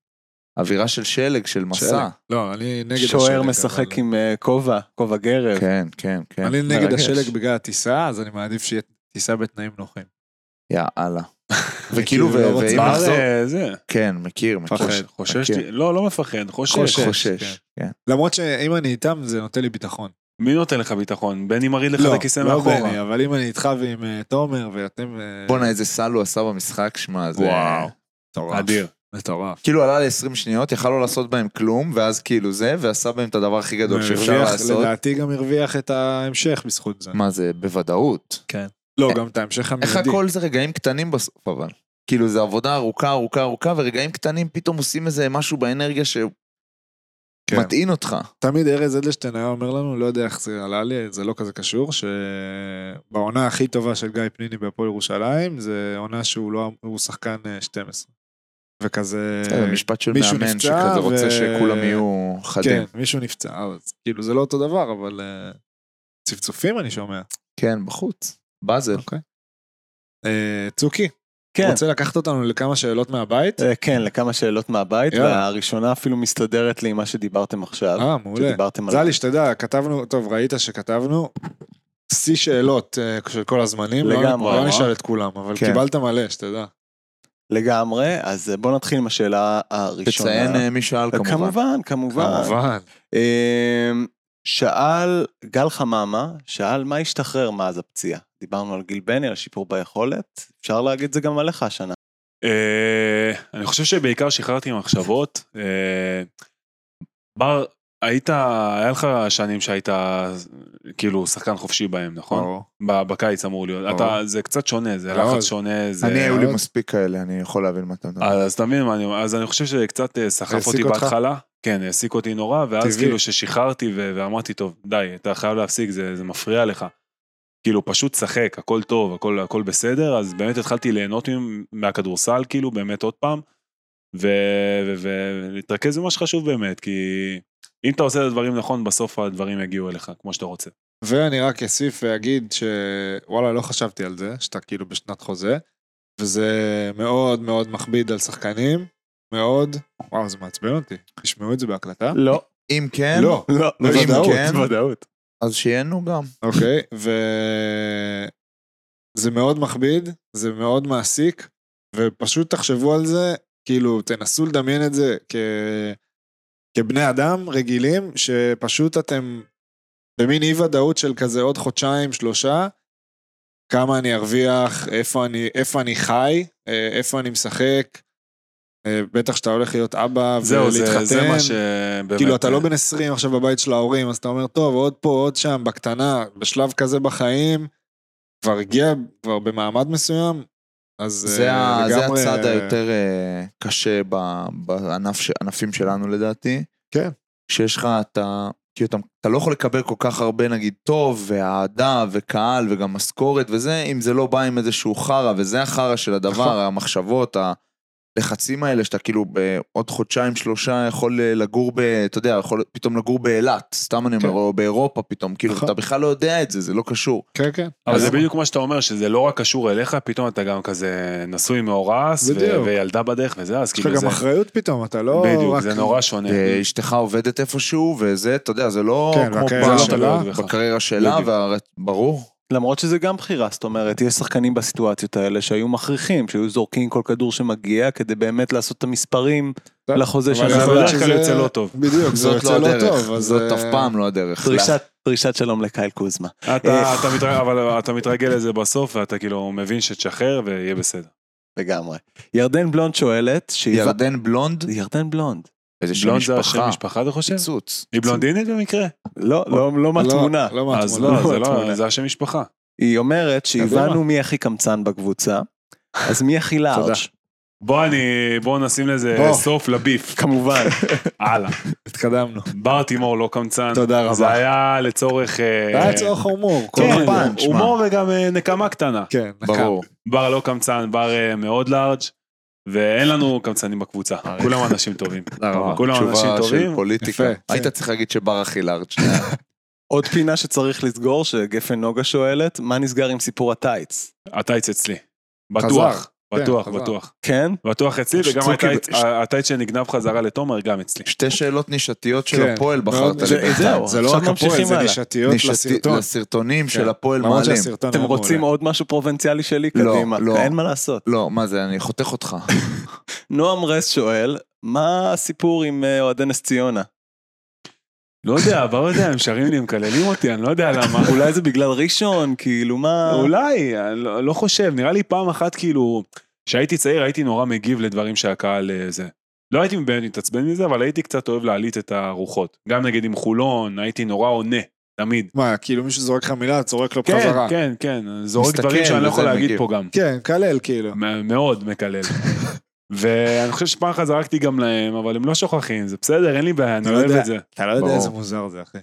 C: אווירה של שלג, של מסע.
D: שלג. לא, אני נגד השלג.
A: שוער
D: אבל-
A: משחק עם אה, כובע, כובע גרב.
C: כן, כן, כן.
D: אני
E: לא,
D: נגד
C: מרגש.
D: השלג בגלל הטיסה, אז אני מעדיף שיהיה טיסה בתנאים נוחים.
C: יאללה. וכאילו,
D: כאילו, לא
C: ו-
D: רוצה.
C: ואם
E: מה
C: נחזור...
E: זה? אה, זה?
C: כן, מכיר, מכיר.
E: חושש- חוששתי?
C: מכיר.
E: לא, לא מפחד, חושש.
D: חושש.
C: חושש. כן.
D: למרות שאם אני איתם, זה נותן לי ביטחון.
E: מי נותן לך ביטחון? בני מרעיד לך את הכיסא
D: לא
E: מאחורה.
D: בני, אבל אם אני איתך ועם אה, תומר ואתם... אה,
C: בואנה, איזה סל הוא עשה במשחק, שמע, זה...
E: וואו.
D: מטורף.
E: אדיר.
D: מטורף.
C: כאילו עלה ל-20 שניות, יכל לא לעשות בהם כלום, ואז כאילו זה, ועשה בהם את הדבר הכי גדול שאפשר
D: הרוויח-
C: לעשות.
D: לדעתי גם הרוויח את ההמשך בזכות זה.
C: מה זה, בוודאות.
D: לא, גם את ההמשך
C: איך
D: המיידי.
C: הכל זה רגעים קטנים בסוף, אבל. כאילו, זה עבודה ארוכה, ארוכה, ארוכה, ורגעים קטנים פתאום עושים איזה משהו באנרגיה
D: כן.
C: שמטעין אותך.
D: תמיד ארז אדלשטיין היה אומר לנו, לא יודע איך זה עלה לי, זה לא כזה קשור, שבעונה הכי טובה של גיא פניני בהפועל ירושלים, זה עונה שהוא לא, הוא שחקן אה, 12. וכזה...
C: זה אה, משפט של
D: מישהו
C: מאמן
D: נפצע,
C: שכזה רוצה
D: ו-
C: שכולם יהיו
D: כן,
C: חדים.
D: מישהו נפצע, אז כאילו זה לא אותו דבר, אבל אה, צפצופים אני שומע.
C: כן, בחוץ. באזל.
D: אוקיי. אה, צוקי,
A: כן.
D: רוצה לקחת אותנו לכמה שאלות מהבית?
A: אה, כן, לכמה שאלות מהבית,
D: יאללה.
A: והראשונה אפילו מסתדרת לי עם מה שדיברתם עכשיו.
D: אה, מעולה.
A: שדיברתם על...
D: זלי, שתדע, כתבנו, טוב, ראית שכתבנו שיא שאלות אה, של כל הזמנים. לא-
A: לגמרי,
D: לא
A: אה?
D: נשאל את כולם, אבל
C: כן.
D: קיבלת מלא, שתדע.
A: לגמרי, אז אה, בוא נתחיל עם השאלה הראשונה.
C: תציין אה, מי שאל
A: אה,
C: כמובן.
A: כמובן, כמובן.
D: כמובן.
A: אמ, שאל גל חממה, שאל מה השתחרר מאז הפציעה? דיברנו על גיל בני, על שיפור ביכולת, אפשר להגיד את זה גם עליך השנה.
E: אה, אני חושב שבעיקר שחררתי מחשבות. אה, בר, היית, היה לך שנים שהיית כאילו שחקן חופשי בהם, נכון?
D: ברור.
E: ב- בקיץ אמור להיות.
D: ברור. לא,
E: אתה, זה קצת שונה, זה
D: מאוד.
E: לחץ שונה, זה...
C: אני, היו לי
D: מאוד-
C: מספיק כאלה, אני יכול להבין מה אתה מדבר.
D: אה,
E: אז אז אתה מבין מה אני אומר, אז אני חושב שזה קצת אה, סחף
D: העסיק
E: אותי
D: אותך?
E: בהתחלה. כן, העסיק אותי נורא, ואז
D: טבעי.
E: כאילו ששחררתי ו- ואמרתי, טוב, די, אתה חייב להפסיק, זה זה מפריע לך. כאילו, פשוט שחק, הכל טוב, הכל הכל בסדר, אז באמת התחלתי ליהנות מ- מהכדורסל, כאילו, באמת עוד פעם, ו- ו- ולהתרכז במה שחשוב באמת, כי אם אתה עושה את הדברים נכון, בסוף הדברים יגיעו אליך, כמו שאתה רוצה.
D: ואני רק אסיף ואגיד שוואלה, לא חשבתי על זה, שאתה כאילו בשנת חוזה, וזה מאוד מאוד מכביד על שחקנים, מאוד, וואו, זה מעצבן אותי, תשמעו את זה בהקלטה.
A: לא.
C: אם כן,
D: לא,
A: לא,
C: ואם
A: בוודאות,
C: כן?
A: בוודאות.
C: אז שיהנו גם.
D: אוקיי, וזה מאוד מכביד, זה מאוד מעסיק, ופשוט תחשבו על זה, כאילו, תנסו לדמיין את זה כ... כבני אדם רגילים, שפשוט אתם במין אי ודאות של כזה עוד חודשיים, שלושה, כמה אני ארוויח, איפה אני, איפה אני חי, אה, איפה אני משחק, אה, בטח שאתה הולך להיות אבא
E: זהו,
D: ולהתחתן.
E: זה- זה מה שבאמת... אה,
D: כאילו, אתה לא בן 20 עכשיו בבית של ההורים, אז אתה אומר, טוב, עוד פה, עוד שם, בקטנה, בשלב כזה בחיים, כבר הגיע, כבר במעמד מסוים, אז
C: זה,
D: אה,
C: ה- זה
D: לגמרי-
C: הצד היותר אה, קשה ב- בענפים שלנו לדעתי.
D: כן.
C: שיש לך, אתה, כאילו אתה, אתה לא יכול לקבל כל כך הרבה נגיד טוב, ואהדה, וקהל, וגם משכורת וזה, אם זה לא בא עם איזשהו חרא, וזה החרא של הדבר,
D: נכון.
C: המחשבות, הלחצים האלה, שאתה כאילו בעוד חודשיים, שלושה יכול אה, לגור ב... אתה יודע, יכול פתאום לגור באילת, סתם אני אומר,
D: כן.
C: או באירופה פתאום, כאילו
D: נכון.
C: אתה בכלל לא יודע את זה, זה לא קשור.
D: כן, כן.
E: אבל זה
C: למה?
E: בדיוק מה שאתה אומר, שזה לא רק קשור אליך, פתאום אתה גם כזה נשוי מאורס, ו-
D: בדיוק.
E: וילדה בדרך וזה, אז
D: יש לך
E: כאילו זה...
D: גם אחריות פתאום, אתה לא
E: בדיוק,
D: רק...
E: זה נורא שונה.
C: אה, ואשתך עובדת איפשהו, וזה, אתה יודע, זה לא
D: כן,
C: כמו
D: והקריירה
C: פעם,
D: שלה.
C: בקריירה שלה,
E: בדיוק.
C: והר- ברור.
A: למרות שזה גם בחירה, זאת אומרת, יש שחקנים בסיטואציות האלה שהיו מכריחים, שהיו זורקים כל כדור שמגיע כדי באמת לעשות את המספרים
D: טוב,
A: לחוזה
D: אבל
A: שלהם.
E: זה
D: יכול להיות
E: בדרך כלל
D: שזה-
E: יוצא לא טוב.
D: בדיוק, זה
C: זאת
D: יוצא
C: לא
D: לא טוב,
C: הדרך,
D: אז...
C: זאת
D: אה,
C: אף פעם לא הדרך.
A: דרישת- דרישת שלום לקייל קוזמה.
D: אה,
E: אתה- אתה מתרג- אבל אתה מתרגל לזה בסוף, ואתה כאילו מבין שתשחרר ויהיה בסדר.
A: לגמרי. ירדן בלונד שואלת, שהיא-
C: ירדן בלונד,
A: ירדן בלונד.
C: איזה שם
E: בלונד זה השם
C: משפחה,
E: משפחה, אתה חושב?
C: פיצוץ.
E: היא בלונדינית במקרה?
A: לא, לא, לא
D: לא-
A: מהתמונה.
D: לא מהתמונה.
E: אז לא, זה
A: מהתמונה.
E: לא, זה השם משפחה.
A: היא אומרת שהבנו
E: קדימה.
A: מי הכי קמצן בקבוצה, אז מי הכי לארג'.
D: תודה.
E: בוא אני, בוא נשים לזה
D: בוא.
E: סוף לביף.
A: כמובן.
E: הלאה.
D: התקדמנו.
E: בר תימור לא קמצן.
D: תודה
E: זה
D: רבה.
E: היה לצורך... אה,
D: היה צורך הומור. כל פעם.
E: כן,
C: פאנץ', מה?
E: הומור וגם אה, נקמה קטנה.
D: כן,
C: ברור.
E: בר לא קמצן, בר אה, מאוד לארג', ואין לנו קמצנים בקבוצה. כולם אנשים טובים.
D: אה,
C: וואו,
E: כולם אנשים
C: תשובה
E: טוברים.
C: של פוליטיקה.
D: יפה,
C: היית
D: כן.
C: צריך להגיד שבר הכי לארג'.
A: עוד פינה שצריך לסגור, שגפן נוגה שואלת, מה נסגר עם סיפור הטייץ?
E: הטייץ אצלי. בטוח,
D: כן,
E: בטוח,
D: חזר.
E: בטוח.
A: כן?
E: בטוח אצלי, וגם
C: שצוקי-
E: הטייץ-
C: ש-
E: הטייץ שנגנב חזרה לתומר גם אצלי.
C: שתי שאלות נישתיות של
D: כן,
C: הפועל בחרת
D: מאוד-
A: זה-
C: לי.
A: זהו,
C: בינתיים.
D: זה לא
A: עכשיו
D: רק הפועל,
A: ממשיכים
D: זה
A: הלאה.
D: נישתיות
C: נישתי-
D: לסרטון.
C: לסרטונים
D: כן.
C: של הפועל
D: למרות
C: מעלים.
D: שהסרטון
A: אתם
D: היה מעולה.
A: רוצים עוד משהו פרובינציאלי שלי?
C: לא,
A: קדימה.
C: לא.
A: אין מה לעשות.
C: לא, מה זה, אני חותך אותך.
A: נועם רס שואל, מה הסיפור עם אה, אוהדי נס ציונה?
E: לא יודע, בר יודע, הם שרים לי, הם מקללים אותי, אני לא יודע למה.
A: אולי זה בגלל ראשון, כאילו, מה...
E: אולי, אני לא לא חושב, נראה לי פעם אחת כאילו, כשהייתי צעיר הייתי נורא מגיב לדברים שהקהל אה, זה. לא הייתי באמת מתעצבן מזה, אבל הייתי קצת אוהב להעליט את הרוחות. גם נגיד עם חולון, הייתי נורא עונה, תמיד.
D: מה, כאילו מישהו זורק לך מילה, צורק לו
E: כן,
D: בחזרה.
E: כן, כן, זורק
C: מסתכל,
E: דברים שאני לא
C: וזה
E: יכול להגיד
C: מגיב.
E: פה גם.
D: כן, מקלל כאילו.
E: מ- מאוד מקלל. ואני חושב שפעם אחת זרקתי גם להם, אבל הם לא שוכחים, זה בסדר, אין לי בעיה, אני
D: לא
E: אוהב
D: יודע.
E: את זה.
D: אתה לא יודע
C: ברור.
D: איזה מוזר זה, אחי.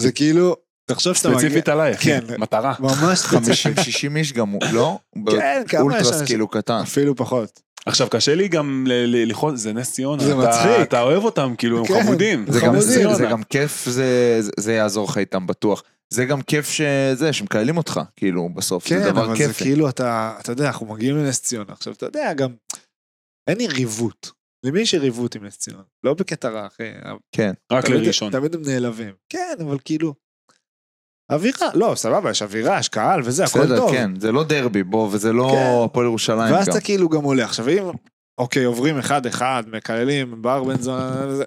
D: זה כאילו, תחשוב שאתה מגיע...
E: ספציפית עליי, אחי,
D: כן.
E: מטרה.
D: ממש ספציפית.
C: 50-60 איש גם, הוא- לא?
D: כן, כמה יש
C: אולטרס
D: אנשים?
C: כאילו קטן.
D: אפילו פחות.
E: עכשיו, קשה לי גם ל- ל- לכעוס, זה נס ציונה.
D: זה
E: אתה-
D: מצחיק.
E: אתה אוהב אותם, כאילו, הם
D: כן.
E: חמודים.
C: זה גם,
E: נס
D: חמודים,
C: זה,
E: ציונה.
C: זה גם כיף, זה, זה- זה יעזור לך איתם בטוח. זה גם כיף שזה, שמקללים אותך, כאילו, בסוף. זה
D: כן,
C: דבר
D: אבל זה
C: כיף.
D: כאילו אתה, אתה יודע, אנחנו מגיעים לנס ציונה. עכשיו, אתה יודע, גם אין יריבות. למי יש יריבות עם נס ציונה? לא בקטע רע, אחי.
E: רק
D: תמיד-
E: לראשון.
D: תמיד הם נעלבים. כן, אבל כאילו... אווירה, לא, סבבה, יש אווירה, יש קהל וזה, הכל
C: בסדר,
D: טוב.
C: כן, זה לא דרבי, בוא, וזה לא
D: כן.
C: הפועל ירושלים
D: ואז
C: גם.
D: אתה כאילו גם עולה. עכשיו, אם, אוקיי, עוברים אחד-אחד, מקללים, בר בן זונה, וזה,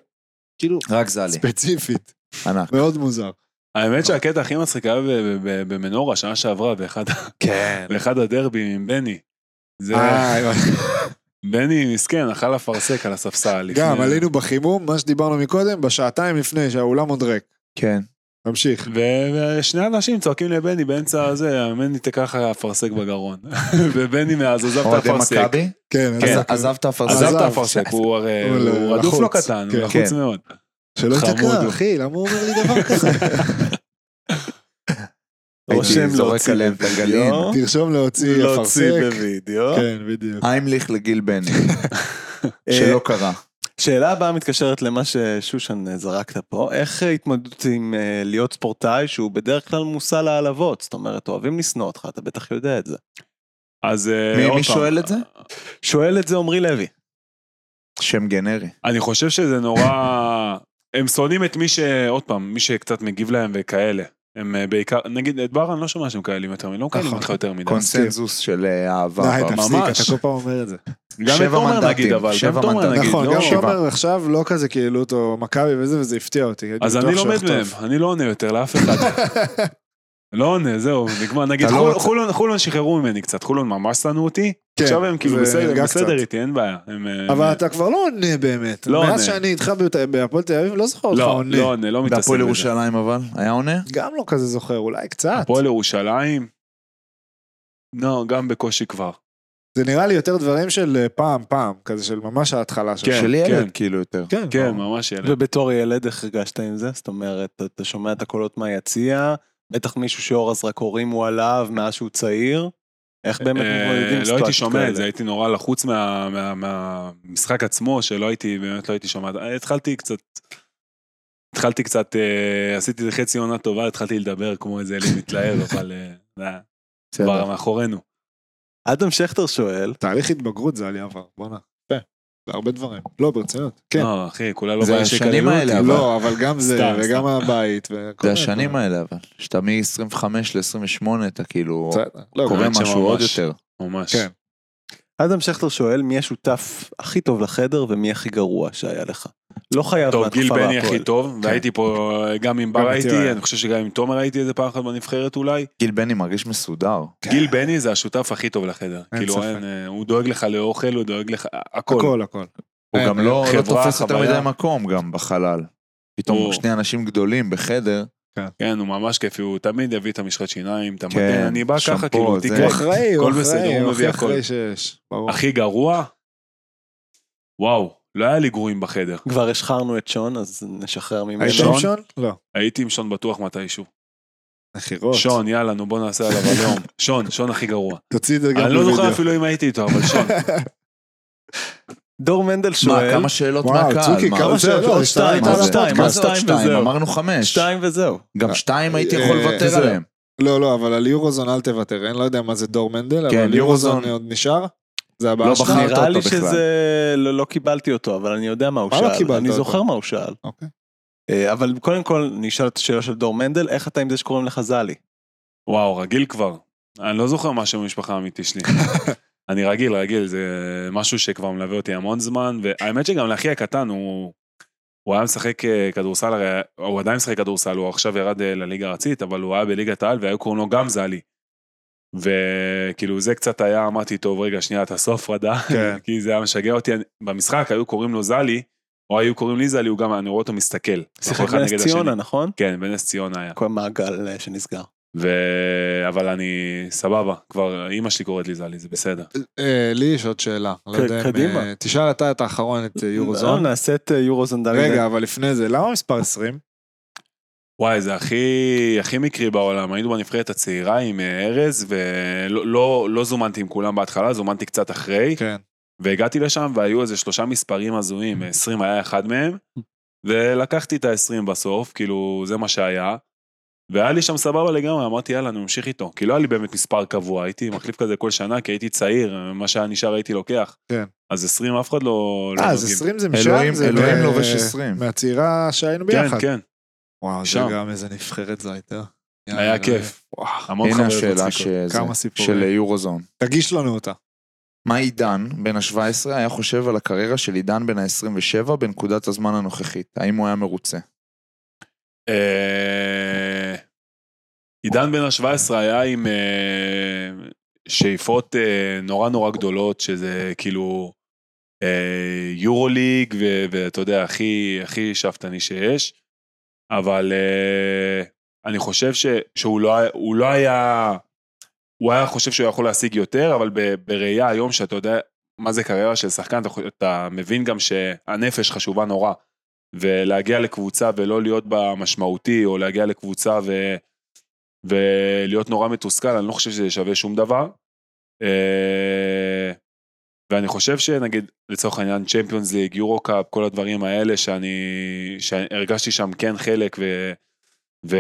D: כאילו,
C: רק זלי,
D: ספציפית,
C: ענק.
D: מאוד מוזר.
E: האמת שהקטע הכי מצחיק היה ב- ב- ב- במנורה שנה שעברה באחד ה-
D: כן.
E: באחד הדרבים עם בני. זה...
D: אה, הבנתי.
E: בני מסכן, אכל אפרסק על הספסל. לפני-
D: גם עלינו בחימום, מה שדיברנו מקודם, בשעתיים לפני שהאולם עוד ריק.
C: כן.
D: תמשיך.
E: ו- ושני אנשים צועקים לבני באמצע הזה, המני תיקח לך אפרסק בגרון. ובני מאז עזב את
C: אוהדי
E: האפרסק.
C: מכבי?
D: כן, אז
C: עזב-
D: רק-
C: עזב את הפרסק.
E: עזב
D: עזב.
E: את האפרסק, הוא הרי,
D: הוא
E: הוא רדוף
D: לחוץ.
E: לא קטן,
D: כן.
E: הוא לחוץ
C: כן.
E: מאוד.
D: שלא
E: חמוד.
D: יתקע, אחי, למה הוא אומר לי דבר כזה?
A: או
C: הייתי
A: שהם
C: זורק
A: להוציא
C: עליהם את הגליל.
A: בווידאו,
D: תרשום להוציא
A: להוציא
D: אפרסק.
A: בווידאו.
D: כן, בדיוק.
C: היימליך לגיל בני,
A: אה,
C: שלא קרה.
A: שאלה הבאה מתקשרת למה ששושן אה, זרקת פה, איך אה, התמודדות עם אה, להיות ספורטאי שהוא בדרך כלל מושא להעלבות? זאת אומרת, אוהבים לשנוא אותך, אתה בטח יודע את זה.
E: אז אה,
C: מי-
E: עוד
C: מי
E: פעם,
C: שואל את זה?
A: שואל את זה עמרי לוי.
C: שם גנרי.
E: אני חושב שזה נורא... הם שונאים את מי ש... עוד פעם, מי שקצת מגיב להם וכאלה. הם אה, בעיקר, נגיד, את בר אני לא שומע שהם כאלים יותר מדי, לא מקללים
D: נכון.
E: אותך יותר מדי.
C: קונסנזוס של אה, אהבה.
D: די, תפסיק,
E: ממש.
D: אתה כל פעם אומר את זה.
E: גם
C: שבע
E: את תומר
C: מנדטים,
E: נגיד, אבל גם
C: שבע
E: תומר
C: מנדטים.
E: נגיד,
D: נכון, גם
E: לא...
C: שבעה.
D: תומר עכשיו לא כזה כאילו אותו מכבי וזה, וזה הפתיע אותי. הייתי
E: אז
D: בטוח
E: אני
D: שהוא
E: לומד
D: יחטוף.
E: מהם, אני לא עונה יותר לאף אחד. לא עונה, זהו, נגמר. נגיד,
C: אתה לא
E: חול-
C: רוצה-
E: חולון- חולון שחררו ממני קצת, חולון ממש שנאו אותי.
D: כן,
E: עכשיו הם כאילו
D: זה
E: בסדר,
D: נרגע קצת.
E: בסדר איתי, אין בעיה. הם, אה,
D: אבל
E: הם-
D: אתה כבר לא עונה באמת.
E: לא עונה.
D: מאז שאני איתך בת- בהפועל תל אביב, לא זוכר אותך
E: לא,
D: עונה.
E: לא עונה, לא מתעסק
C: והפועל
E: בזה.
C: ירושלים אבל, היה עונה?
D: גם לא כזה זוכר, אולי קצת.
E: הפועל ירושלים? לא, גם בקושי כבר.
D: זה נראה לי יותר דברים של אה, פעם, פעם, כזה של ממש ההתחלה שלך.
E: כן,
C: של ילד
E: כן.
C: כאילו יותר.
D: כן,
E: כן, ממש ילד.
A: ובתור ילד, איך הרגשת עם זה? זאת אומרת, אתה- אתה שומע את הקולות מהיציע, בטח מישהו שאור הזרקורים הוא עליו מאז שהוא צעיר. איך באמת
E: אה,
A: מתמודדים עם
E: לא הייתי
A: סיטואציות
E: שומע את
A: כאלה?
E: זה, הייתי נורא לחוץ מה- מה- מהמשחק עצמו, שלא הייתי, באמת לא הייתי שומע. את- אה, התחלתי קצת, התחלתי קצת, אה, עשיתי חצי עונה טובה, התחלתי לדבר כמו איזה אלי מתלהב, אבל אה, זה היה כבר
C: בסדר.
E: מאחורינו.
A: אדם שכטר שואל,
D: תהליך התבגרות זה עלי עבר, בואנה.
E: כן.
D: יפה. בהרבה דברים. לא, ברצינות. כן.
E: לא, אחי, כולה לא
C: זה
E: בעיה
C: השנים
E: שיקללו
C: האלה,
E: אותי.
C: אבל-
D: לא, אבל גם זה,
E: סתם,
D: וגם
E: סתם.
D: הבית. וכל
C: זה
D: מיני
C: השנים
D: דברים.
C: האלה אבל, שאתה מ-25 ל-28 אתה כאילו
D: בסדר. לא,
C: קורה
E: האמת
C: משהו
E: שממש.
C: עוד יותר.
E: ממש.
D: כן.
A: אדם שכטר שואל מי השותף הכי טוב לחדר ומי הכי גרוע שהיה לך. לא חייב
E: טוב, גיל
A: מהתקופה
E: בני
A: בהפועל.
E: הכי טוב, והייתי פה, אה, גם עם
D: גם
E: בר
D: איתי הוא
E: הייתי,
D: היה.
E: אני חושב שגם עם תומר הייתי איזה פעם אחת בנבחרת אולי.
C: גיל בני מרגיש מסודר.
E: גיל בני זה השותף הכי טוב לחדר.
D: אין
E: כאילו,
D: ספק.
E: אין, אה, הוא דואג לך לאוכל, הוא דואג לך, הכל.
D: הכל, הכל.
C: הוא
D: כן,
C: גם לא לא
E: חברה,
C: תופס יותר
E: חוויה.
C: מדי מקום גם בחלל. פתאום
E: הוא-
C: שני אנשים גדולים בחדר,
E: כן, הוא ממש כיפי, הוא תמיד יביא את המשחת שיניים, את המדען,
C: כן,
E: אני בא ככה,
C: שמפו,
E: כאילו, הוא
C: זה.
D: הוא
E: תיקח.
D: אחראי, הוא
E: הכל בסדר,
D: אחראי,
E: הוא
D: הוא
E: מביא
D: הכי
E: הכל.
D: אחראי שיש. ברור.
E: הכי גרוע? וואו, לא היה לי גרועים בחדר.
A: כבר השחרנו את שון, אז נשחרר ממנו.
E: שון?
D: שון? שון? לא.
E: הייתי עם שון בטוח מתישהו.
D: נחירות.
E: שון, יאללה, נו בוא נעשה עליו היום. שון, שון הכי גרוע.
D: תוציא את זה גם
E: אני
D: בווידאו.
E: לא זוכר אפילו אם הייתי איתו, אבל שון.
A: דור מנדל
C: מה,
A: שואל,
C: כמה שאלות
D: וואו,
C: מהקהל?
D: צוקי,
C: מה-
D: כמה
A: זהו,
D: שאלות?
A: עוד
D: השתלטת
A: שתיים,
C: מה
D: על
A: עוד
C: זה?
A: שתיים,
C: מה
A: עוד
C: זה עוד
A: שתיים
C: שתיים?
A: וזהו.
C: אמרנו חמש.
A: שתיים וזהו.
C: גם שתיים הייתי יכול
D: אה,
C: לוותר
D: זהו.
C: עליהם.
D: לא, לא, אבל על יורוזון אל תוותר, אני לא יודע מה זה דור מנדל,
C: כן,
D: אבל יורוזון
C: יורוזון
D: עוד נשאר? זה הבעיה
C: לא
D: שלך?
C: בחרת
A: נראה
C: אותו
A: לי
C: בכלל.
A: שזה, לא לא קיבלתי אותו, אבל אני יודע מה הוא
D: מה לא
A: שאל.
D: קיבלת
A: אני
D: אותו?
A: זוכר מה הוא שאל.
D: אוקיי.
A: אה, אבל קודם כל, נשאל את השאלה של דור מנדל, איך אתה עם זה שקוראים לך זלי?
E: וואו, רגיל כבר. אני לא זוכר משהו במשפחה האמיתי שלי. אני רגיל, רגיל, זה משהו שכבר מלווה אותי המון זמן, והאמת שגם לאחי הקטן, הוא, הוא היה משחק אה, כדורסל, הרי הוא עדיין משחק כדורסל, הוא עכשיו ירד אה, לליגה הארצית, אבל הוא היה בליגת העל והיו קוראים לו גם זלי. וכאילו זה קצת היה, אמרתי, טוב, רגע, שנייה, תעשו הפרדה,
D: כן.
E: כי זה היה משגע אותי. אני- במשחק היו קוראים לו זלי, או היו קוראים לי זלי, הוא גם, אני רואה אותו מסתכל.
A: שיחק
E: אחד
A: בנס
E: נגד
A: ציונה,
E: השני.
A: נכון?
E: כן, בנס ציונה היה.
A: כל מעגל אה, שנסגר.
E: ו... אבל אני סבבה, כבר אימא שלי קוראת לי זלי, זה בסדר.
D: אה, לי יש עוד שאלה. לא
A: ק-
D: יודע אם,
A: קדימה.
D: אה, תשאל אתה את האחרון, את אה, יורוזון.
A: לא, נעשה את אה, יורוזון דלי.
D: רגע, אבל לפני זה, למה מספר 20?
E: וואי, זה הכי, הכי מקרי בעולם. היינו בנבחרת הצעירה עם אה, ארז, ולא לא, לא זומנתי עם כולם בהתחלה, זומנתי קצת אחרי,
D: כן.
E: והגעתי לשם והיו איזה שלושה מספרים הזויים,
D: Mm.
E: 20 היה אחד מהם, ולקחתי את ה-20 בסוף, כאילו, זה מה שהיה. והיה לי שם סבבה לגמרי, אמרתי יאללה, אני ממשיך איתו. כי לא היה לי באמת מספר קבוע, הייתי מחליף כזה כל שנה, כי הייתי צעיר, מה שהיה נשאר הייתי לוקח.
D: כן.
E: אז 20 אף אחד לא... לא
D: אה, אז
E: נוגעים.
D: 20 זה משם?
C: אלוהים
D: זה
C: אלוהים
D: מה-
C: לובש עשרים.
D: מהצעירה שהיינו
E: כן,
D: ביחד.
E: כן.
D: וואו, זה
E: שם.
D: גם איזה נבחרת זו הייתה. יאללה,
E: היה
D: אלוהים.
E: כיף. המון
C: הנה
E: חוויות
C: השאלה
E: מצחיקות.
C: שזה,
D: כמה סיפורים.
C: כן, של יורוזון.
D: תגיש לנו אותה.
C: מה עידן, בן ה-17, היה חושב על הקריירה של עידן בן ה-27 בנקודת הזמן הנוכחית? האם הוא היה מרוצה?
E: אה, עידן בן ה-17 היה עם אה, שאיפות אה, נורא נורא גדולות, שזה כאילו אה, יורוליג, ו- ואתה יודע, הכי, הכי שאפתני שיש, אבל אה, אני חושב ש, שהוא לא, היה- הוא לא היה, הוא היה חושב שהוא יכול להשיג יותר, אבל ב, בראייה היום שאתה יודע מה זה קריירה של שחקן, אתה, חו- אתה מבין גם שהנפש חשובה נורא. ולהגיע לקבוצה ולא להיות בה משמעותי, או להגיע לקבוצה ו... ולהיות נורא מתוסכל, אני לא חושב שזה שווה שום דבר. אה, ואני חושב שנגיד, לצורך העניין, צ'מפיונס ליג, יורו קאפ, כל הדברים האלה שאני... שהרגשתי שם כן חלק ו... ו...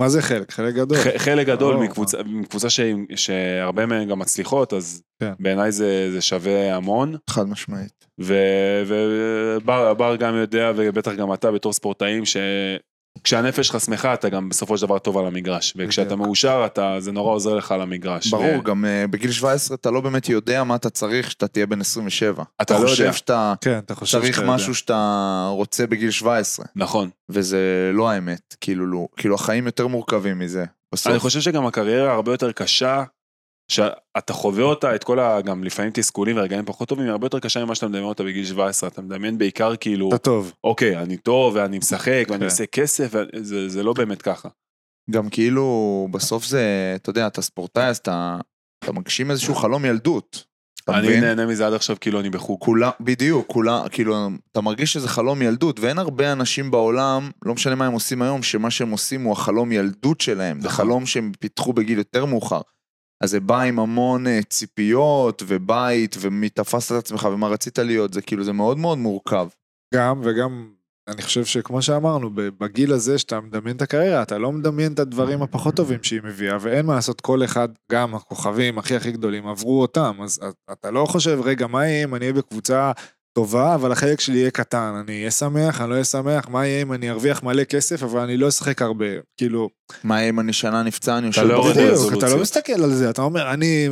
D: מה זה חלק? חלק גדול.
E: ח- חלק גדול
D: ברור.
E: מקבוצה, מקבוצה ש... שהרבה מהן גם מצליחות, אז
D: כן.
E: בעיניי זה, זה שווה המון.
C: חד משמעית.
E: ובר בר גם יודע, ובטח גם אתה בתור ספורטאים, שכשהנפש שלך שמחה, אתה גם בסופו של דבר טוב על המגרש. וכשאתה
D: בדיוק.
E: מאושר, אתה, זה נורא עוזר לך על המגרש.
C: ברור, גם אה, בגיל 17 אתה לא באמת יודע מה אתה צריך כשאתה תהיה בן 27.
E: אתה לא
C: חושב
E: יודע.
C: שאתה
D: כן, אתה חושב
C: צריך
D: שאתה יודע.
C: משהו שאתה רוצה בגיל 17,
E: נכון.
C: וזה לא האמת. כאילו, לא- כאילו החיים יותר מורכבים מזה. בסוף.
E: אני חושב שגם הקריירה הרבה יותר קשה, שאתה חווה אותה, את כל ה... גם לפעמים תסכולים ורגעים פחות טובים, היא הרבה יותר קשה ממה שאתה מדמיין אותה בגיל 17. אתה מדמיין בעיקר כאילו,
D: אתה טוב.
E: אוקיי, אני טוב, ואני משחק, ואני
D: כן.
E: עושה כסף, וזה- זה לא באמת ככה.
C: גם כאילו, בסוף זה, אתה יודע, אתה ספורטאי, אז אתה, אתה מגשים איזשהו חלום ילדות. אתה
E: אני
C: מבין?
E: נהנה מזה עד עכשיו כאילו אני בחוג.
C: כולם, בדיוק, כולם, כאילו, אתה מרגיש שזה חלום ילדות, ואין הרבה אנשים בעולם, לא משנה מה הם עושים היום, שמה שהם עושים הוא החלום ילדות שלהם. זה
E: נכון.
C: חלום שהם פיתחו בגיל יותר מאוחר. אז זה בא עם המון אה, ציפיות, ובית, ומי תפסת את עצמך, ומה רצית להיות, זה כאילו, זה מאוד מאוד מורכב.
D: גם, וגם, אני חושב שכמו שאמרנו, ב- בגיל הזה שאתה מדמיין את הקריירה, אתה לא מדמיין את הדברים הפחות טובים שהיא מביאה, ואין מה לעשות, כל אחד, גם הכוכבים הכי הכי גדולים, עברו אותם, אז את- אתה לא חושב, רגע, מה יהיה אם אני אהיה בקבוצה טובה, אבל החלק שלי יהיה קטן, אני אהיה שמח, אני לא אהיה שמח, מה יהיה אם אני ארוויח מלא כסף, אבל אני לא אשחק הרבה, כאילו,
C: מה אם אני שנה נפצע, אני יושב
E: לא יורד
C: בחוץ.
E: לרזולוציה.
D: בדיוק, אתה לא מסתכל על זה, אתה אומר, אני,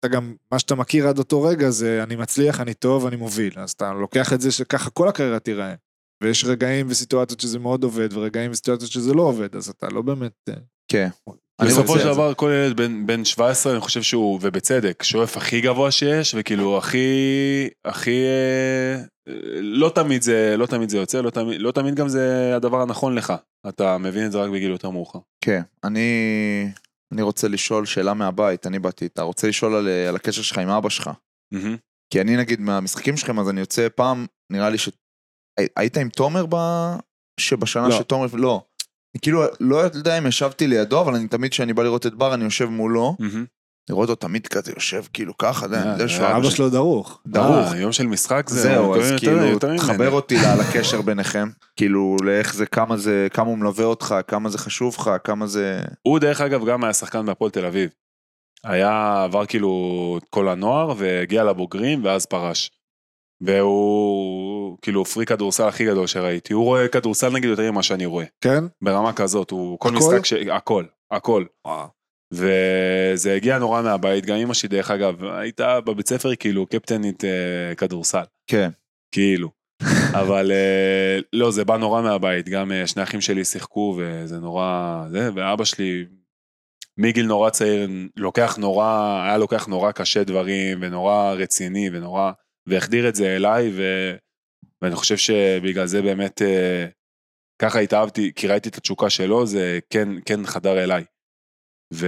D: אתה גם, מה שאתה מכיר עד אותו רגע זה, אני מצליח, אני טוב, אני מוביל. אז אתה לוקח את זה שככה כל הקריירה תיראה. ויש רגעים וסיטואציות שזה מאוד עובד, ורגעים וסיטואציות שזה לא עובד, אז אתה לא באמת... אה,
C: כן. אני
E: בסופו
C: רוצה
E: של
C: את זה.
E: דבר, כל ילד בן, בן 17, אני חושב שהוא, ובצדק, שואף הכי גבוה שיש, וכאילו הכי, הכי, אה, לא תמיד זה, לא תמיד זה יוצא, לא תמיד, לא תמיד גם זה הדבר הנכון לך. אתה מבין את זה רק בגיל יותר מאוחר.
C: כן, אני, אני רוצה לשאול שאלה מהבית, אני באתי איתה. רוצה לשאול על, אה, על הקשר שלך עם אבא שלך. כי אני נגיד מהמשחקים שלכם, אז אני יוצא פעם, נראה לי ש... הי- היית עם תומר ב... שבשנה
D: לא.
C: שתומר... לא. אני כאילו, לא יודע אם ישבתי לידו, אבל אני תמיד כשאני בא לראות את בר, אני יושב מולו. לראות אותו תמיד כזה יושב כאילו ככה, אתה יודע, אני יודע שהוא
D: אבא שלו דרוך.
C: דרוך.
E: אה, יום של משחק זה...
C: זהו,
E: יותר-
C: אז
E: יותר-
C: כאילו,
E: יותר ממני.
C: תחבר אותי ל- לקשר ביניכם. כאילו, לאיך זה, כמה זה, כמה הוא מלווה אותך, כמה זה חשוב לך, כמה זה...
E: הוא דרך אגב גם היה שחקן בהפועל תל אביב. היה, עבר כאילו את כל הנוער והגיע לבוגרים ואז פרש. והוא כאילו פרי כדורסל הכי גדול שראיתי. הוא רואה כדורסל נגיד יותר ממה שאני רואה.
D: כן?
E: ברמה כזאת, הוא כל
D: הכל?
E: משחק, ש... הכל, הכל. וזה הגיע נורא מהבית, גם אמא שלי דרך אגב, הייתה בבית ספר כאילו קפטנית אה, כדורסל,
C: כן.
E: כאילו. אבל אה, לא, זה בא נורא מהבית, גם אה, שני אחים שלי שיחקו וזה נורא, זה, ואבא שלי מגיל נורא צעיר לוקח נורא, היה לוקח נורא קשה דברים ונורא רציני ונורא, והחדיר את זה אליי ו... ואני חושב שבגלל זה באמת אה, ככה התאהבתי, כי ראיתי את התשוקה שלו, זה כן, כן חדר אליי. ו...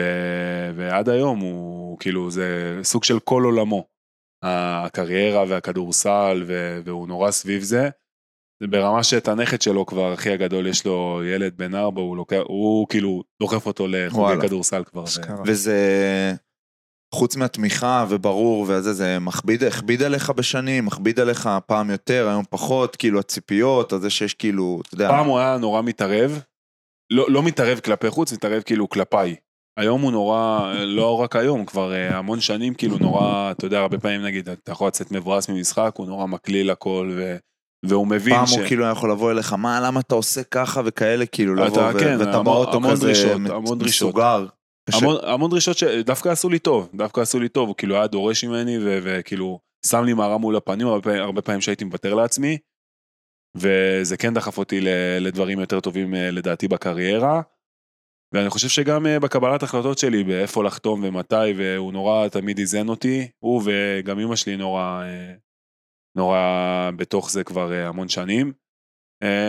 E: ועד היום הוא כאילו, זה סוג של כל עולמו. הקריירה והכדורסל, ו... והוא נורא סביב זה. זה ברמה שאת הנכד שלו כבר, אחי הגדול, יש לו ילד בן ארבע, הוא לוקח, הוא כאילו דוחף אותו לחוגי
C: וואלה.
E: כדורסל כבר. ו...
D: אשכרה.
C: וזה, חוץ מהתמיכה וברור וזה, זה מכביד, הכביד עליך בשנים, מכביד עליך פעם יותר, היום פחות, כאילו הציפיות, אז זה שיש כאילו, אתה יודע,
E: פעם הוא היה נורא מתערב, לא, לא מתערב כלפי חוץ, מתערב כאילו כלפיי. היום הוא נורא, לא רק היום, כבר אה, המון שנים כאילו נורא, אתה יודע, הרבה פעמים נגיד, אתה יכול לצאת מבואס ממשחק, הוא נורא מקליל הכל ו, והוא מבין
C: פעם
E: ש...
C: הוא כאילו היה יכול לבוא אליך, מה, למה אתה עושה ככה וכאלה, כאילו, לבוא,
E: אתה-
C: ו-
E: כן,
C: ואתה
E: המון-
C: באוטו
E: המון
C: כזה
E: דרישות,
C: מ-
E: המון דרישות.
C: מסוגר. קשה.
E: המון, המון דרישות שדווקא עשו לי טוב, דווקא עשו לי טוב, הוא כאילו היה דורש ממני ו- וכאילו שם לי מערה מול הפנים, הרבה, פעמים- הרבה פעמים שהייתי מוותר לעצמי, וזה כן דחף אותי ל- לדברים יותר טובים אה, לדעתי בקריירה, ואני חושב שגם אה, בקבלת החלטות שלי, באיפה לחתום ומתי, והוא נורא תמיד איזן אותי, הוא וגם אמא שלי נורא, אה, נורא בתוך זה כבר אה, המון שנים.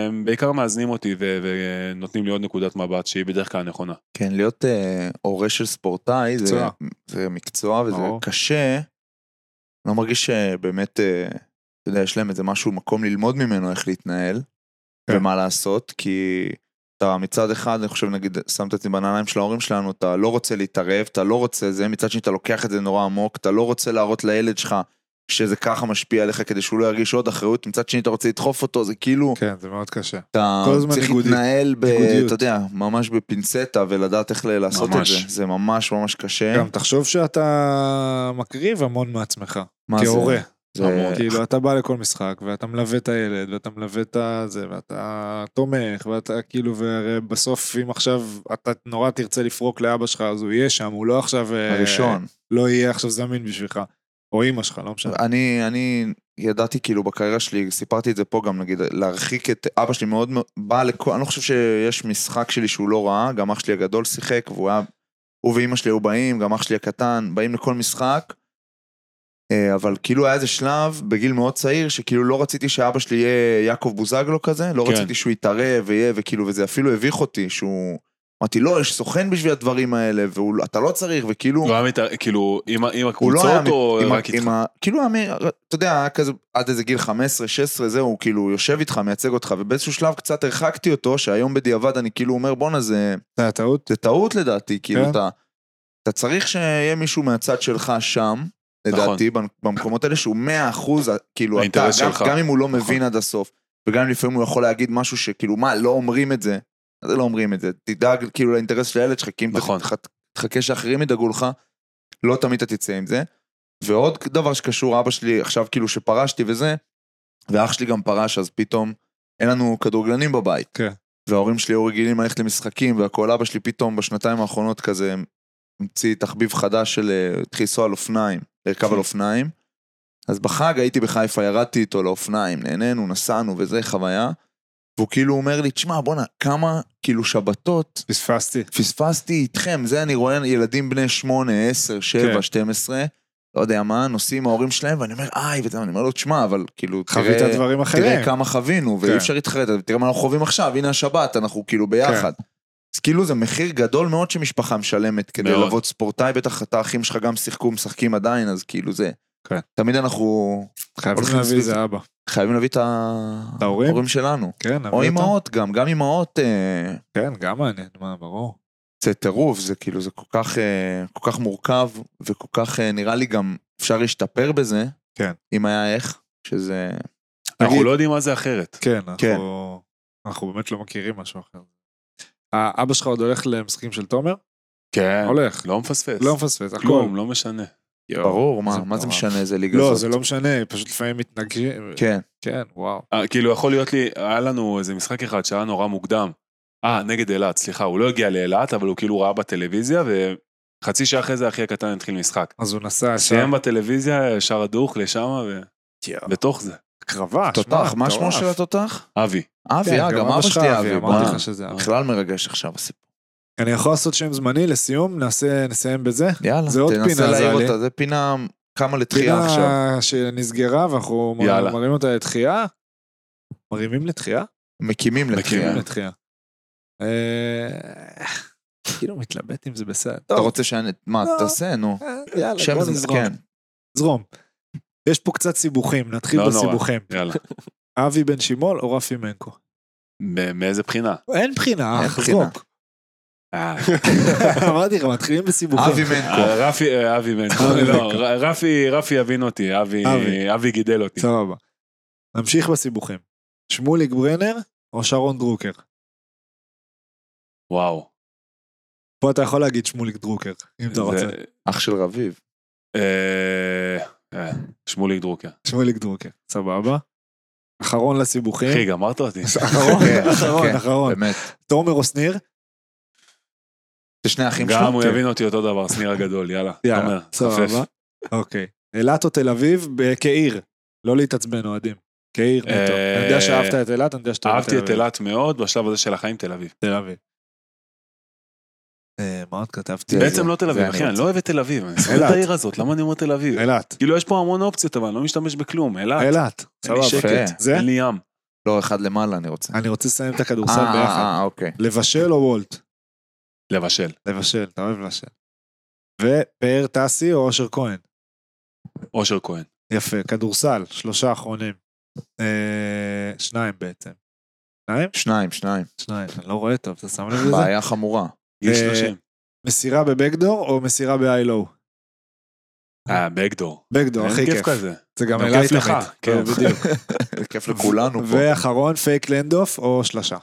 E: הם בעיקר מאזנים אותי ו- ונותנים לי עוד נקודת מבט שהיא בדרך כלל נכונה.
C: כן, להיות אה, הורה של ספורטאי זה,
D: מקצוע.
C: זה מקצוע וזה
D: ברור.
C: קשה. לא מרגיש שבאמת, אה, אתה יודע, יש להם איזה משהו, מקום ללמוד ממנו איך להתנהל
D: כן.
C: ומה לעשות, כי אתה מצד אחד, אני חושב, נגיד, שמת את זה בנעליים של ההורים שלנו, אתה לא רוצה להתערב, אתה לא רוצה זה, מצד שני אתה לוקח את זה נורא עמוק, אתה לא רוצה להראות לילד שלך שזה ככה משפיע עליך כדי שהוא לא ירגיש עוד אחריות, מצד שני אתה רוצה לדחוף אותו, זה כאילו...
D: כן, זה מאוד קשה.
C: אתה
D: כל הזמן
C: צריך
D: ניגודי-
C: להתנהל, ב,
D: ניגודיות.
C: אתה יודע, ממש בפינצטה ולדעת איך ל- לעשות
E: ממש.
C: את זה. זה ממש ממש קשה.
D: גם תחשוב שאתה מקריב המון מעצמך,
C: מה זה?
D: כהורה.
C: זה-
E: המון.
D: כאילו, אתה בא לכל משחק, ואתה מלווה את הילד, ואתה מלווה את הזה, ואתה תומך, ואתה כאילו, והרי בסוף, אם עכשיו אתה נורא תרצה לפרוק לאבא שלך, אז הוא יהיה שם, הוא לא עכשיו... אה,
C: הראשון.
D: לא יהיה עכשיו זמין בשבילך. או אימא שלך, לא משנה.
C: אני, אני ידעתי כאילו בקריירה שלי, סיפרתי את זה פה גם נגיד, להרחיק את אבא שלי מאוד מאוד- בא לכל, אני לא חושב שיש משחק שלי שהוא לא ראה, גם אח שלי הגדול שיחק, והוא היה, הוא ואימא שלי היו באים, גם אח שלי הקטן, באים לכל משחק. אה, אבל כאילו היה איזה שלב בגיל מאוד צעיר, שכאילו לא רציתי שאבא שלי יהיה יעקב בוזגלו כזה, לא
E: כן.
C: כן. רציתי שהוא יתערב ויהיה, וכאילו, וזה אפילו הביך אותי, שהוא... אמרתי, לא, יש סוכן בשביל הדברים האלה, ואתה לא צריך, וכאילו...
E: הוא היה מת... כאילו, עם, ה- עם
C: הוא לא היה...
E: הקבוצות או
C: עם ה-
E: רק איתך?
C: עם ה- כאילו, היה מ- אתה יודע, היה כזה, עד איזה גיל 15-16, זהו, הוא כאילו יושב איתך, מייצג אותך, ובאיזשהו שלב קצת הרחקתי אותו, שהיום בדיעבד אני כאילו אומר, בואנה, זה,
D: זה היה טעות?
C: זה טעות לדעתי,
D: כן.
C: כאילו, אתה, אתה צריך שיהיה מישהו מהצד שלך שם, לדעתי, נכון. במקומות האלה, שהוא 100 אחוז, כאילו, אתה,
E: האינטרס
C: גם,
E: שלך.
C: גם אם הוא לא
E: נכון.
C: מבין עד הסוף, וגם אם לפעמים הוא יכול להגיד משהו שכאילו, מה, לא אומרים את זה, אז לא אומרים את זה, תדאג כאילו לאינטרס של הילד שלך, כי אם
E: נכון.
C: נכון. תחכה שאחרים ידאגו לך, לא תמיד אתה תצא עם זה. ועוד דבר שקשור, אבא שלי עכשיו כאילו שפרשתי וזה, ואח שלי גם פרש, אז פתאום אין לנו כדורגלנים בבית.
D: כן.
C: וההורים שלי היו רגילים ללכת למשחקים, והכל אבא שלי פתאום בשנתיים האחרונות כזה המציא תחביב חדש של אה, התחיל לנסוע על אופניים, לרכב על אופניים. אז בחג הייתי בחיפה, ירדתי איתו לאופניים, נהנינו, נסענו וזה, חוויה. והוא כאילו אומר לי, תשמע, בואנה, כמה כאילו שבתות
D: פספסתי.
C: פספסתי איתכם, זה אני רואה ילדים בני 8, 10, 7,
D: כן.
C: 12, לא יודע מה, נוסעים עם ההורים שלהם, ואני אומר, איי, וזה, אני אומר לו, תשמע, אבל כאילו,
D: חווית
C: תראה-
D: דברים
C: תראה
D: אחרים.
C: כמה חווינו, ואי
D: כן.
C: אפשר להתחרט, אבל תראה מה אנחנו חווים עכשיו, הנה השבת, אנחנו כאילו ביחד. אז כאילו זה מחיר גדול מאוד שמשפחה משלמת כדי
E: מאוד.
C: לבוא ספורטאי, בטח אתה, האחים שלך גם שיחקו, משחקים עדיין, אז כאילו זה.
D: כן.
C: תמיד אנחנו
D: חייבים
C: הולכים
D: להביא
C: סביב
D: את זה אבא.
C: חייבים להביא את
D: את ההורים?
C: ההורים שלנו.
D: כן, נביא
C: או
D: אותם.
C: אימהות גם, גם אימהות, אה,
D: כן, גם מעניין, מה, ברור.
C: זה טירוף, זה כאילו, זה כל כך, אה, כל כך מורכב, וכל כך, אה, נראה לי גם אפשר להשתפר בזה.
D: כן.
C: אם היה איך, שזה...
E: אנחנו
D: נגיד-
E: לא יודעים מה זה אחרת.
D: כן, אנחנו... אנחנו באמת לא מכירים משהו אחר. אה, אבא שלך עוד הולך למשחקים של תומר?
C: אה,
E: כן.
D: הולך.
E: לא מפספס.
D: לא מפספס, הכל.
E: כלום, לא משנה.
C: ברור, מה,
D: זה
C: מה זה
D: מטורף.
C: משנה איזה ליגה
D: לא,
C: זאת?
D: זה לא משנה, פשוט לפעמים מתנגשים.
C: כן.
D: כן, וואו.
E: אה, כאילו, יכול להיות לי, היה לנו איזה משחק אחד שהיה נורא מוקדם. אה, נגד אילת, סליחה, הוא לא הגיע לאילת, אבל הוא כאילו ראה בטלוויזיה, וחצי שעה אחרי זה אחי הקטן התחיל משחק.
D: אז הוא נסע
E: סיים בטלוויזיה, ישר הדוך לשם, ובתוך זה.
D: קרבה,
C: תותח, מה
D: מטורף. כן,
C: שמו של התותח?
E: אבי.
C: אבי, אה, גם אבא
D: שלך
C: שלי אבי,
D: אמרתי
C: מה?
D: לך שזה אבי.
C: בכלל מרגש עכשיו הסיפור.
D: אני יכול לעשות שם זמני לסיום, נעשה, נסיים בזה.
C: יאללה,
D: זה עוד פינה,
C: תנסה
D: זה
C: להעיר
D: עלי.
C: אותה, זה פינה כמה לתחייה עכשיו.
D: פינה שנסגרה ואנחנו מ-
E: יאללה.
D: מרימים אותה לתחייה. מרימים לתחייה?
C: כן. מקימים לתחייה.
D: מרימים לתחייה. אה, כאילו מתלבט אם זה בסדר.
C: אתה
D: טוב,
C: רוצה שאני... מה,
D: לא.
C: תעשה, נו.
D: אה, יאללה,
C: שם
D: בוא
C: זה
D: נזרום.
C: כן.
D: זרום. יש פה קצת סיבוכים, נתחיל
E: לא נורא.
D: בסיבוכים.
E: יאללה.
D: אבי בן שימול או רפי מנקו?
E: מ- מאיזה בחינה?
D: אין בחינה,
C: אין
D: אח,
C: בחינה.
D: זרוק. אמרתי לך, מתחילים בסיבוכים.
C: אבי מנקו.
E: אה, רפי, אה, אבי מנקו.
D: אבי
E: לא,
D: מנקו.
E: ר- רפי, רפי יבין אותי, אבי-
D: אבי.
E: אבי גידל אותי.
D: סבבה. נמשיך בסיבוכים. שמוליק ברנר או שרון דרוקר?
E: וואו.
D: פה אתה יכול להגיד שמוליק דרוקר, אם אתה
E: זה-
D: לא רוצה.
C: אח של רביב.
E: אה, אה, שמוליק דרוקר.
D: כן? שמוליק דרוקר, סבבה. אחרון לסיבוכים.
E: אחי, גמרת אותי.
D: אחרון,
C: כן,
D: אחרון,
C: כן.
D: אחרון.
C: באמת.
D: תומר או שניר?
C: זה שני אחים שלו?
E: גם הוא יבין אותי אותו דבר, שניר הגדול, יאללה.
D: כן. יאללה,
E: תומר,
D: סבבה.
E: חפף.
D: אוקיי. אילת או תל אביב ב- כעיר. לא להתעצבן, אוהדים. כעיר
E: אה,
D: נטו. אני יודע שאהבת את אילת, אני יודע שאתה אוהב
E: אהבתי את אילת מאוד, בשלב הזה של החיים תל אביב.
D: תל אביב. אה, מה עוד כתבתי?
C: זה-
E: בעצם
C: זה-
E: לא תל אביב,
C: זה אני
E: אחי, אני
C: רוצה.
E: לא אוהב את תל אביב, אני שונא
D: אילת.
E: את העיר הזאת, למה אני אומר תל אביב?
D: אילת.
E: כאילו, יש פה המון אופציות, אבל אני לא משתמש בכלום, אילת,
D: אילת.
E: אין לי
D: סבבה.
C: יפה.
E: שקט,
D: זה?
E: אין לי ים.
C: לא, אחד למעלה אני רוצה.
D: אני רוצה לסיים את
C: אה,
D: הכדורסל
C: אה,
D: ביחד.
C: אה, אוקיי.
D: לבשל או וולט?
E: לבשל.
D: לבשל, אתה אוהב לבשל. ופאר טסי או אושר כהן?
E: אושר כהן.
D: יפה, כדורסל, שלושה אחרונים. אה, שניים בעצם. שניים?
C: שניים, שניים.
D: שניים, אני לא רואה טוב, אתה שם לב לזה?
C: בעיה חמורה.
E: גיל
D: אה,
E: 30.
D: מסירה בבקדור או מסירה ב-ILO?
E: אה, בקדור.
D: בקדור,
E: אין
D: לא, הכי
E: כיף
D: כיף.
E: כזה.
D: זה גם
E: גם
D: אליי
E: כיף לך,
D: תמיד.
E: כן.
D: לא, בדיוק.
C: כיף לכולנו פה.
D: ואחרון, פייק לנדוף או שלשה?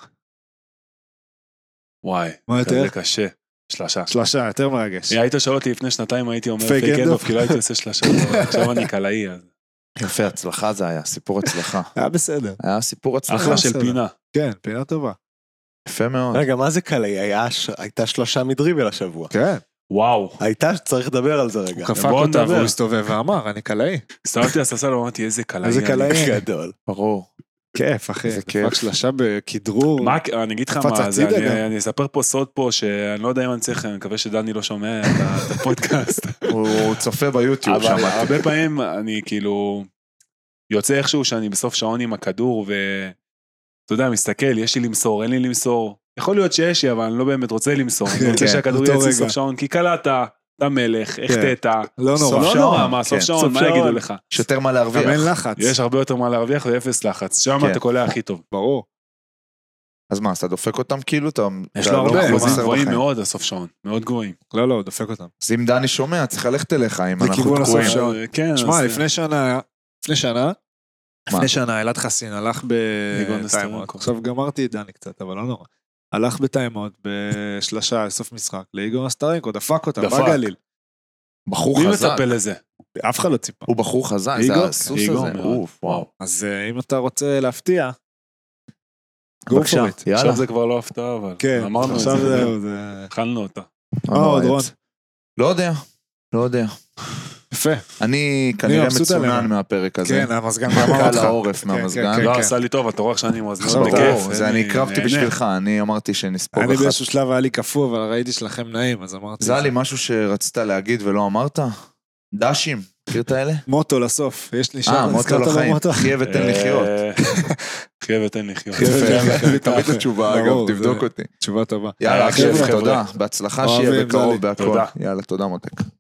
E: וואי,
D: מה יותר?
E: כזה קשה. שלושה.
D: שלשה, יותר מרגש.
E: היית שואל אותי לפני שנתיים, הייתי אומר
D: פייק
E: פייק
D: אנד
E: אנדוף,
D: אוף.
E: כי לא הייתי עושה שלושה. עכשיו אני קלעי, אז...
C: יפה, הצלחה זה היה, סיפור הצלחה.
D: היה אה, בסדר.
C: היה סיפור הצלחה.
E: אחלה של
D: בסדר.
E: פינה.
D: כן, פינה טובה.
C: יפה מאוד.
A: רגע, מה זה קלעי? היה ש- הייתה שלושה מדריבל השבוע.
D: כן.
E: וואו.
A: הייתה, צריך לדבר על זה רגע.
D: הוא קפק
E: בוא
D: אותה
E: נדבר.
D: והוא הסתובב ואמר, אני קלעי.
E: הסתובבתי לספסל ואמרתי, איזה קלעי.
D: איזה
E: אני.
D: קלעי.
A: גדול.
C: ברור.
D: כיף, אחי.
C: איזה
D: איזה
C: כיף.
D: כיף. שלשה בכדרור.
E: מה, אני אגיד לך
D: קפץ
E: מה, זה,
D: הצידה גם.
E: אני- אני אספר פה סוד פה, שאני לא יודע אם אני צריך, אני מקווה שדני לא שומע את ה- את הפודקאסט.
C: הוא צופה ביוטיוב,
E: אבל
C: שמעתי.
E: הרבה פעמים אני כאילו יוצא איכשהו שאני בסוף שעון עם הכדור ואתה יודע מסתכל יש לי למסור אין לי למסור יכול להיות שיש לי אבל אני לא באמת רוצה למסור אני רוצה
D: כן,
E: שהכדור
D: אותו
E: יהיה אצלי
D: רגע. כן.
E: סוף שעון כי קלעת אתה מלך החטאת
D: לא
E: סוף
D: נורא.
E: לא נורא מה
C: כן,
E: סוף שעון
D: סוף
E: מה
D: שעון.
E: יגידו לך
C: יש יותר מה
D: גם אין
C: להרוויח.
D: לחץ.
E: יש הרבה יותר מה להרוויח ואפס לחץ שם
C: כן.
E: אתה קולע הכי טוב
D: ברור.
C: אז מה, אז אתה דופק אותם כאילו? אתה-
E: יש
C: אתה
E: לו
C: לא
E: הרבה
C: חוזר
E: אחוזים
C: בחיים.
E: גבוהים מאוד הסוף שעון מאוד גבוהים
D: לא, לא, הוא דופק אותם.
C: אז אם דני שומע, צריך ללכת אליך אם
D: זה
C: אנחנו
D: כיוון הסוף
C: תקועים.
D: שלו. שעון.
E: כן
D: שמע,
E: אז-
D: לפני שנה, לפני שנה,
C: מה?
D: לפני שנה אלעד חסין הלך
E: ניגון
D: בטיימאוט.
E: אסטרונקו.
D: עכשיו גמרתי את דני קצת, אבל לא נורא. הלך בטיימאוט בשלשה לסוף משחק, לאיגור אסטרנקו, דפק אותה,
E: דפק.
D: בגליל.
C: בחור
E: אה, מי
C: חזק.
E: מטפל לזה
D: אף אחד לא ציפה.
C: הוא בחור חזק, זה
D: איגור?
C: הסוס
E: איגור
C: הזה.
E: מאוד.
C: אוף, וואו.
D: אז אה, אם אתה רוצה להפתיע, go
C: בבקשה,
D: for it.
C: יאללה.
E: עכשיו זה כבר לא הפתעה אבל
D: כן,
E: אמרנו את
D: עכשיו
E: זה אה,
D: זהו, זה...
E: התחלנו אותה
D: מה אה, עוד, רון?
C: לא יודע, לא יודע.
D: יפה.
C: אני כנראה
D: מבסוט
C: מצונן
D: עליהם.
C: מהפרק הזה.
D: כן, המזגן
C: קל
D: גמר אותך.
C: העורף
D: כן,
C: מהמזגן.
D: כן,
E: לא
D: כן.
E: עשה לי טוב, אתה רואה עכשיו אני עם האזנות
D: עכשיו
C: ברור,
D: אתה
E: בכיף. אה,
D: עף,
C: לא, זה אני הקרבתי
E: נהנה.
C: בשבילך, אני אמרתי שנספוג
D: אני
C: אחת.
D: באיזשהו שלב היה לי קפוא, אבל ראיתי שלכם נעים, אז אמרתי...
C: זלי, משהו שרצית להגיד ולא אמרת? דשים, מכיר את האלה?
D: מוטו לסוף, יש לי שם,
C: אה, מוטו
D: הזכרת לו
C: לחיים,
D: מוטו?
C: חיה ותן לחיות.
E: אה, חיה ותן לחיות.
D: חיה ותן לחיות.
C: יפה, תמיד התשובה,
D: ברור,
C: אגב, תבדוק
D: זה-
C: אותי.
D: תשובה טובה.
C: יאללה,
E: חבר'ה,
C: אחי,
E: חבר'ה.
C: תודה. בהצלחה שיהיה
D: אוהבים,
C: בקרוב
D: זלי.
C: בהכל.
E: תודה.
C: יאללה, תודה מותק.